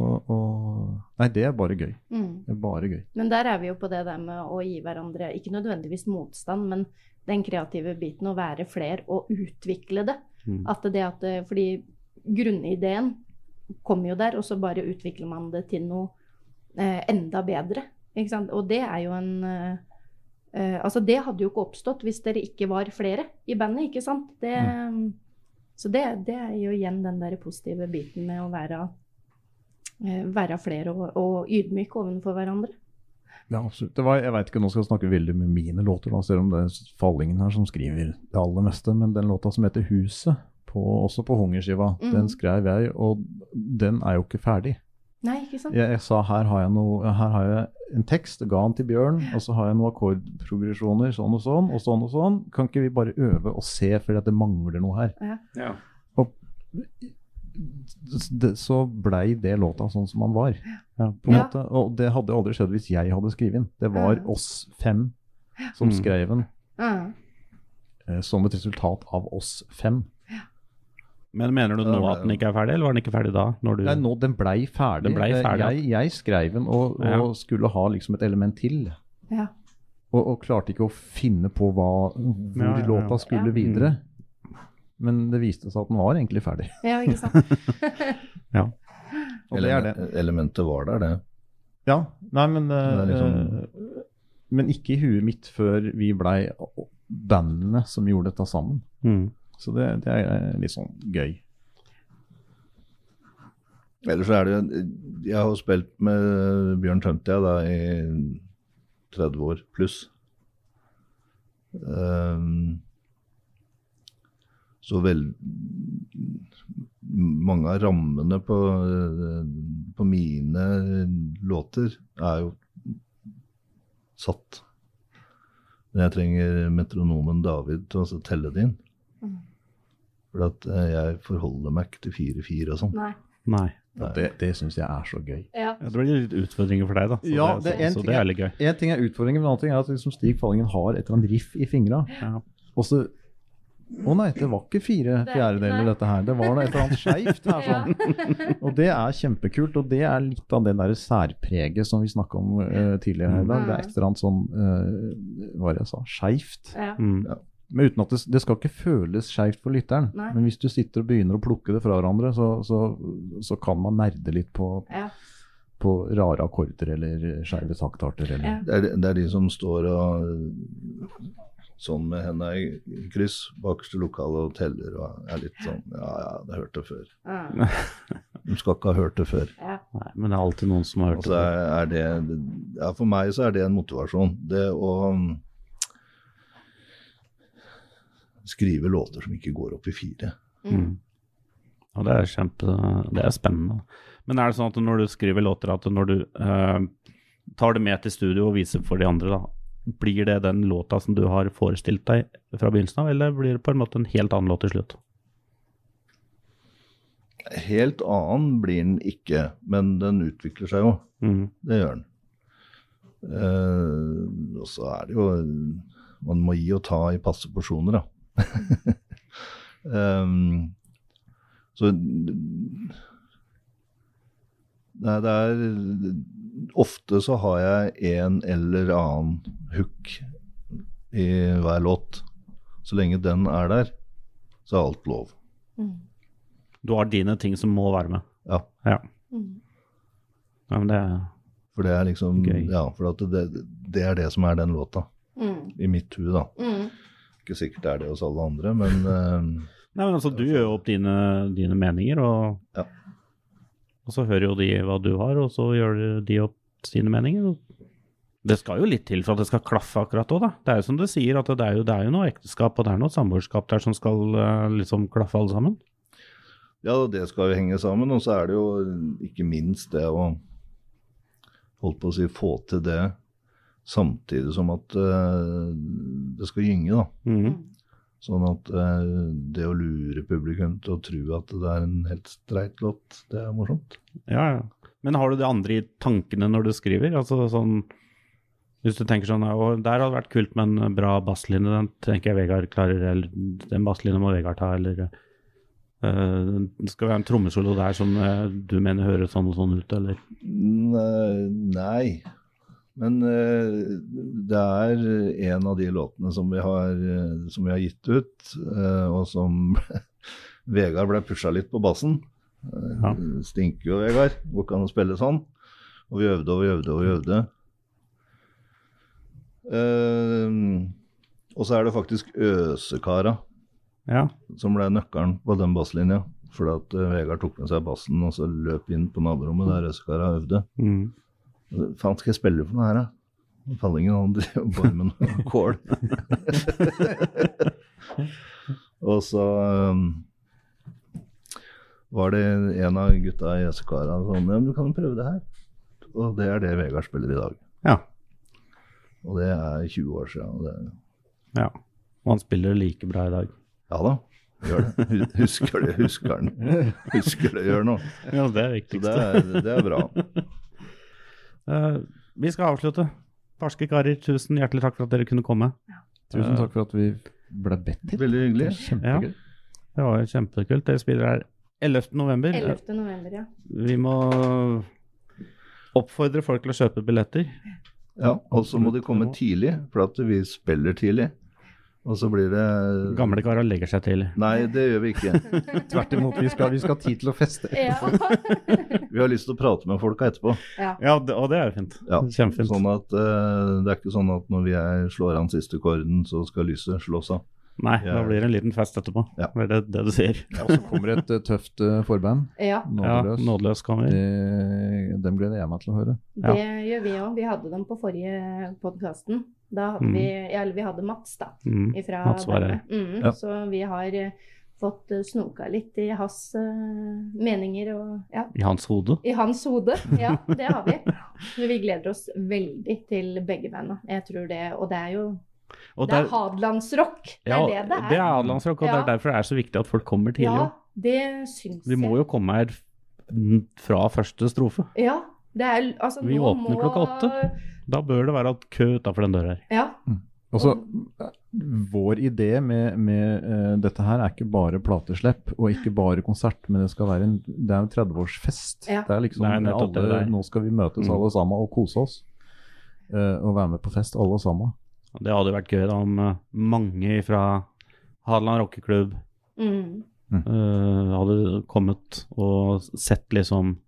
Og, og Nei, det er bare gøy. Mm. Det er bare gøy. Men der er vi jo på det der med å gi hverandre, ikke nødvendigvis motstand, men den kreative biten, å være fler og utvikle det. Mm. At det at, det- fordi grunnideen kommer jo der, og så bare utvikler man det til noe eh, enda bedre. Ikke sant? Og det er jo en eh, eh, Altså, det hadde jo ikke oppstått hvis dere ikke var flere i bandet, ikke sant? Det, eh, Så det, det er jo igjen den der positive biten med å være, eh, være flere og, og ydmyke overfor hverandre. Ja, absolutt. Det var, jeg vet ikke, Nå skal jeg snakke veldig med mine låter, da, selv om det er Fallingen her som skriver det aller meste. Men den låta som heter 'Huset', på, også på Hungerskiva, Mhm. den skrev jeg, og den er jo ikke ferdig. Nei, ikke sant? Jeg, jeg sa her har jeg, noe, her har jeg en tekst, ga den til Bjørn, og så har jeg noen akkordprogresjoner, sånn og sånn, og sånn og sånn. Kan ikke vi bare øve og se, fordi at det mangler noe her? Ja. Det, så blei det låta sånn som den var. på en Ja. måte. Og det hadde aldri skjedd hvis jeg hadde skrevet den. Det var Ja. oss fem som Mm. skrev den Ja. eh, som et resultat av oss fem. Men mener du nå at den ikke er ferdig, eller var den ikke ferdig da? Når du... Nei, nå, den blei ferdig. Den blei Eh, ferdig, ja. Jeg, jeg skrev den og, og Ja. skulle ha liksom et element til. Ja. Og, og klarte ikke å finne på hva, hvor Ja, ja, ja. låta skulle Ja. videre. Mm. Men det viste seg at den var egentlig ferdig. ja, ikke sant? Og det er det. Elemen- Elementet var der, det. eh, Ja, nei, men eh, Det er liksom- eh, Men ikke i huet mitt før vi blei bandene som gjorde dette sammen. Mm. Så det, det er litt sånn gøy. Ellers så er det jo Jeg har jo spilt med Bjørn Tømte jeg, da, i 30 år pluss. Ehm, så vel Mange av rammene på, på mine låter er jo satt. Men jeg trenger metronomen David til å altså telle det inn. Mm. For at eh, jeg forholder meg ikke til 4-4 og sånn. Nei. Nei. Og det det syns jeg er så gøy. Ja. Ja, det blir litt utfordringer for deg, da. Så Ja, det, det er en så, ting så det jeg- er litt gøy. Én ting er utfordringen, men en annen ting er at liksom Stig Fallingen har et eller annet riff i fingra. Ja. Og så Å nei, det var ikke fire Det er- fjerdedeler, nei. dette her. Det var da et eller annet skeivt her. Ja. sånn. Og det er kjempekult, og det er litt av det der særpreget som vi snakka om eh, tidligere her i dag. Det er et eller annet sånn eh, Hva var det jeg sa? Skeivt. ja. Mm. Men uten at det, det skal ikke føles skeivt for lytteren. Nei. Men hvis du sitter og begynner å plukke det fra hverandre, så, så, så kan man nerde litt på, ja. på rare akkorder eller skeive taktarter eller Ja. Det er, de- det er de som står og øh, sånn med henda i kryss bakerst i lokalet og teller og er litt sånn Ja, ja, det har hørt det før. Ja. De skal ikke ha hørt det før. Ja. Nei, men det er alltid noen som har hørt Altså, det. er er det, ja, for meg så er det en motivasjon. Det å mm, skrive låter som ikke går opp i fire. Mm. Og det er kjempe, det er spennende. Men er det sånn at når du skriver låter, at når du eh, tar det med til studio og viser for de andre, da, blir det den låta som du har forestilt deg fra begynnelsen av, eller blir det på en måte en helt annen låt til slutt? Helt annen blir den ikke, men den utvikler seg jo. Mhm. Det gjør den. Eh, og så er det jo Man må gi og ta i passe porsjoner, da. Em, så Nei, det er Ofte så har jeg en eller annen hook i hver låt. Så lenge den er der, så er alt lov. Mm. Du har dine ting som må være med. Ja. Ja, Mm. ja men det er For det er liksom Gøy. Ja, for at det, det er det som er den låta. Mm. I mitt hue, da. Mm. Ikke sikkert det er det hos alle andre, men eh, Nei, men altså, du gjør jo opp dine, dine meninger, og, Ja. og så hører jo de hva du har, og så gjør de opp sine meninger. Og det skal jo litt til for at det skal klaffe akkurat òg, da. Det er jo som du sier, at det er jo, det er jo noe ekteskap og det er noe samboerskap der som skal eh, liksom klaffe alle sammen. ja, det skal jo henge sammen. Og så er det jo ikke minst det å holdt på å si få til det samtidig som at eh, det skal gynge, da. Mhm. Sånn at eh, det å lure publikum til å tro at det er en helt streit låt, det er morsomt. Ja, ja. Men har du det andre i tankene når du skriver? Altså sånn Hvis du tenker sånn Å, der hadde vært kult med en bra basslinje, den tenker jeg Vegard klarer, eller den basslinjen må Vegard ta, eller eh, Det skal være en trommesolo der som eh, du mener høres sånn og sånn ut, eller Nei, nei. Men eh, det er en av de låtene som vi har, eh, som vi har gitt ut, eh, og som Vegard ble pusha litt på bassen. Eh, Ja. Stinker jo, Vegard. Går ikke an å spille sånn. Og vi øvde og vi øvde og vi øvde. Eh, og så er det faktisk Øsekara Ja. som ble nøkkelen på den basslinja. Fordi at eh, Vegard tok med seg bassen og så løp inn på naborommet der Øsekara øvde. Mm. Hva faen skal jeg spille for noe her, da? Fallingen han drev bare med noe kål. og så um, var det en av gutta i Jøsekara sånn Ja, men du kan jo prøve det her. Og det er det Vegard spiller i dag. ja. Og det er 20 år siden. Og det, Ja. Og han spiller like bra i dag. ja da, gjør det. Hu- Husker det, husker han. Husker det, gjør noe. Ja, det er Så det er, det er bra. Eh, vi skal avslutte. Barske karer, tusen hjertelig takk for at dere kunne komme. Tusen takk for at vi ble bedt hit. Veldig Det hyggelig. var Kjempegøy. Det var jo kjempekult. Dere spiller her 11. november. 11. november, ja. Vi må oppfordre folk til å kjøpe billetter. Ja, og så må de komme tidlig, for at vi spiller tidlig. Og så blir det Gamle karer legger seg til. Nei, det gjør vi ikke. Tvert imot, vi skal, vi skal ha tid til å feste. Ja. Vi har lyst til å prate med folka etterpå. ja. Ja, det, og det er jo fint. Ja, Kjempefint. Sånn at eh, Det er ikke sånn at når vi er, slår an siste korden, så skal lyset slås av. Nei, Ja. da blir det en liten fest etterpå. Ja. Det er det, det du sier. Ja, og så kommer et eh, tøft eh, forband. ja. Nådeløs. Ja, nådeløs kommer. Det, dem gleder jeg meg til å høre. Ja. Det gjør vi òg. Vi hadde dem på forrige podkasten. Da hadde Mm. vi ja, Eller vi hadde Mats, da. Mm. Ifra Mats var bandet. Mm, Ja. Så vi har eh, fått eh, snoka litt i hans eh, meninger og ja. I hans hode. I hans hode, ja. Det har vi. Så vi gleder oss veldig til begge banda. Jeg tror det. Og det er jo Og Det der- er Hadelandsrock. Det er det det Det er. er Adelandsrock, og det Ja. er derfor det er så viktig at folk kommer tidlig. Ja, også. det syns De må jeg. jo komme her f- fra første strofe. Ja, det er, altså, Vi nå åpner må- klokka åtte. Da bør det være at kø utafor den døra her. Ja. Og så, eh, Vår idé med, med eh, dette her er ikke bare plateslipp og ikke bare konsert, men det skal være en, det er en 30-årsfest. Ja. Det er liksom Det er nettopp det alle, det er. Nå skal vi møtes Mm. alle sammen og kose oss. eh, og være med på fest, alle sammen. Og Det hadde jo vært gøy da om eh, mange fra Hadeland rockeklubb, Mm. eh, hadde kommet og sett liksom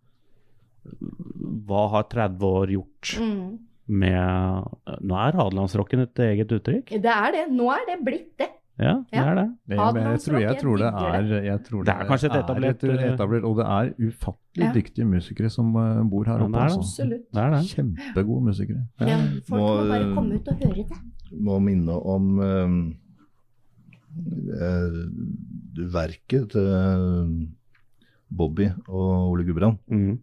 Hva har 30 år gjort Mm. med eh, Nå er hadelandsrocken et eget uttrykk? Det er det. Nå er det blitt det. Ja, det er det. Jeg, jeg, jeg, tror, jeg, tror det Hadelandsrock, er, jeg tror Det er kanskje et etablert- er eh, et etablert Og det er ufattelig Ja. dyktige musikere som eh, bor her Ja, det oppe. er det. altså. Absolutt. det, er det. Kjempegode musikere. Ja, folk Må, må, bare eh, komme ut og høre det. Må minne om eh, eh, verket til Bobby og Ole Gudbrand, Mm.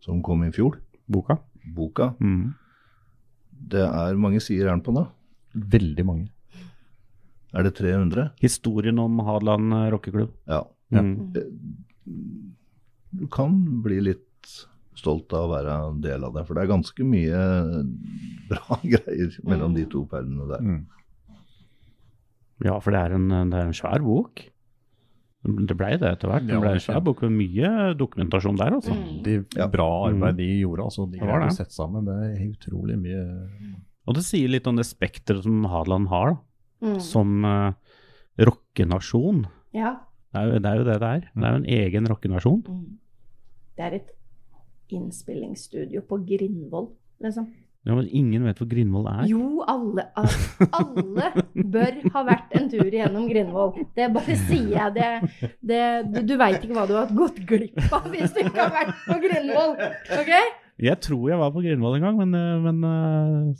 som kom i fjor. Boka. Boka. Mm. Det er mange sider er den på nå? Veldig mange. Er det 300? Historien om Hadeland eh, rockeklubb. Ja. Ja. Mm. Du kan bli litt stolt av å være en del av det, for det er ganske mye bra greier mellom de to perlene der. Mm. Ja, for det er en, eh, det er en svær bok. Det blei det etter hvert. Ja, Det ble en ja. svær bok med mye dokumentasjon der, Mm. altså. Veldig Ja. bra arbeid de gjorde. altså De Det var greide det. å sette sammen. Det er utrolig mye Og det sier litt om det spekteret som Hadeland har, da. Mm. som eh, rockenasjon. Ja. Det er, jo, det er jo det det er. Det er jo en egen rockenasjon. Mm. Det er et innspillingsstudio på Grindvoll, liksom. Ja, men ingen vet hvor Grindvoll er. Jo, alle, al- alle bør ha vært en tur gjennom Grindvoll. Det bare sier jeg. Det, det, du du veit ikke hva du har gått glipp av hvis du ikke har vært på Grindvoll. Ok? Jeg tror jeg var på Grindvoll en gang, men, eh, men eh,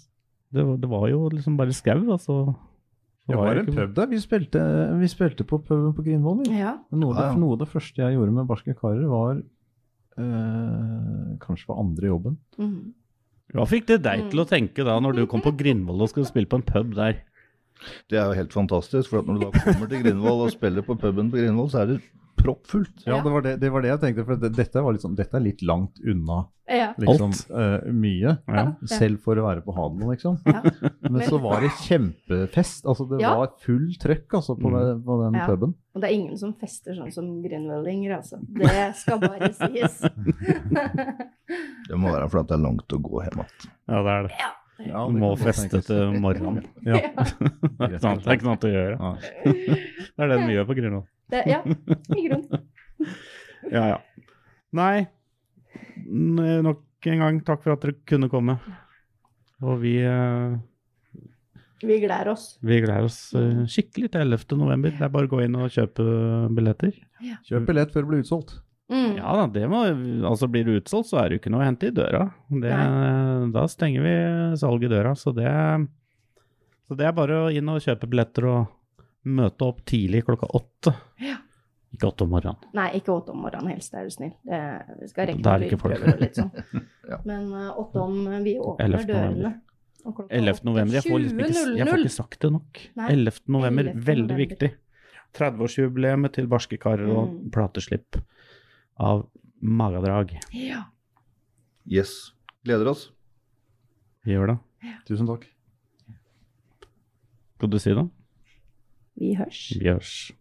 det, var- det var jo liksom bare skau, altså. Det var en pub der. Vi spilte, vi spilte på puben på Grindvoll. vi. Ja. Men Noe, av Ja, det- ja. noe av det første jeg gjorde med Barske karer, var eh, Kanskje var andre jobben. Mm. Hva fikk det deg til å tenke da, når du kom på Grindvoll og skulle spille på en pub der? Det er jo helt fantastisk, for at når du da kommer til Grindvoll og spiller på puben på Grindvoll, så er det proppfullt. Ja, Ja. det var det, det var det jeg tenkte. For det, dette, var liksom, dette er litt langt unna Ja. liksom, Alt. eh, mye. Ja. Selv for å være på Hadeland, liksom. Ja. Men så var det kjempefest. Altså, det Ja. var full trøkk altså, på, Mm. på den Ja. puben. Og det er ingen som fester sånn som grindvollinger, altså. Det skal bare sies. Det må være for at det er langt å gå hjem igjen. Ja, det er det. Ja, Du det må kan godt feste tenkes. til morgenen. Ja. Det er sant, det er ikke sånn noe annet å gjøre. Ja. Det er det vi gjør på Grindvoll. Det, ja, i grunnen. Ja, ja. Nei, n- nok en gang takk for at dere kunne komme. Og vi, eh, Vi gleder oss. vi gleder oss eh, Mm. skikkelig til 11. november. Det er bare å gå inn og kjøpe billetter. Kjøp billett før det blir utsolgt. Mm. Ja da, det må Altså blir det utsolgt, så er det jo ikke noe å hente i døra. Det, da stenger vi salget i døra, så det Så det er bare å inn og kjøpe billetter og møte opp tidlig klokka åtte. Ja. Ikke åtte om morgenen. Nei, ikke åtte om morgenen helst, er du snill. Det, vi skal rekke Da er noen det ikke folk. lydprøver og litt sånn. Ja. Men eh, åtte om eh, vi åpner 11. dørene. november. 11. november. Jeg får liksom ikke, jeg får ikke sagt det nok. Nei, 11. november, 11. veldig november. viktig. 30-årsjubileet til Barske karer og Mm. plateslipp av Magadrag. Ja. Yes. Gleder oss. Vi gjør det. Tusen takk. Skal du si det? Vi hørs. Vi gjørs.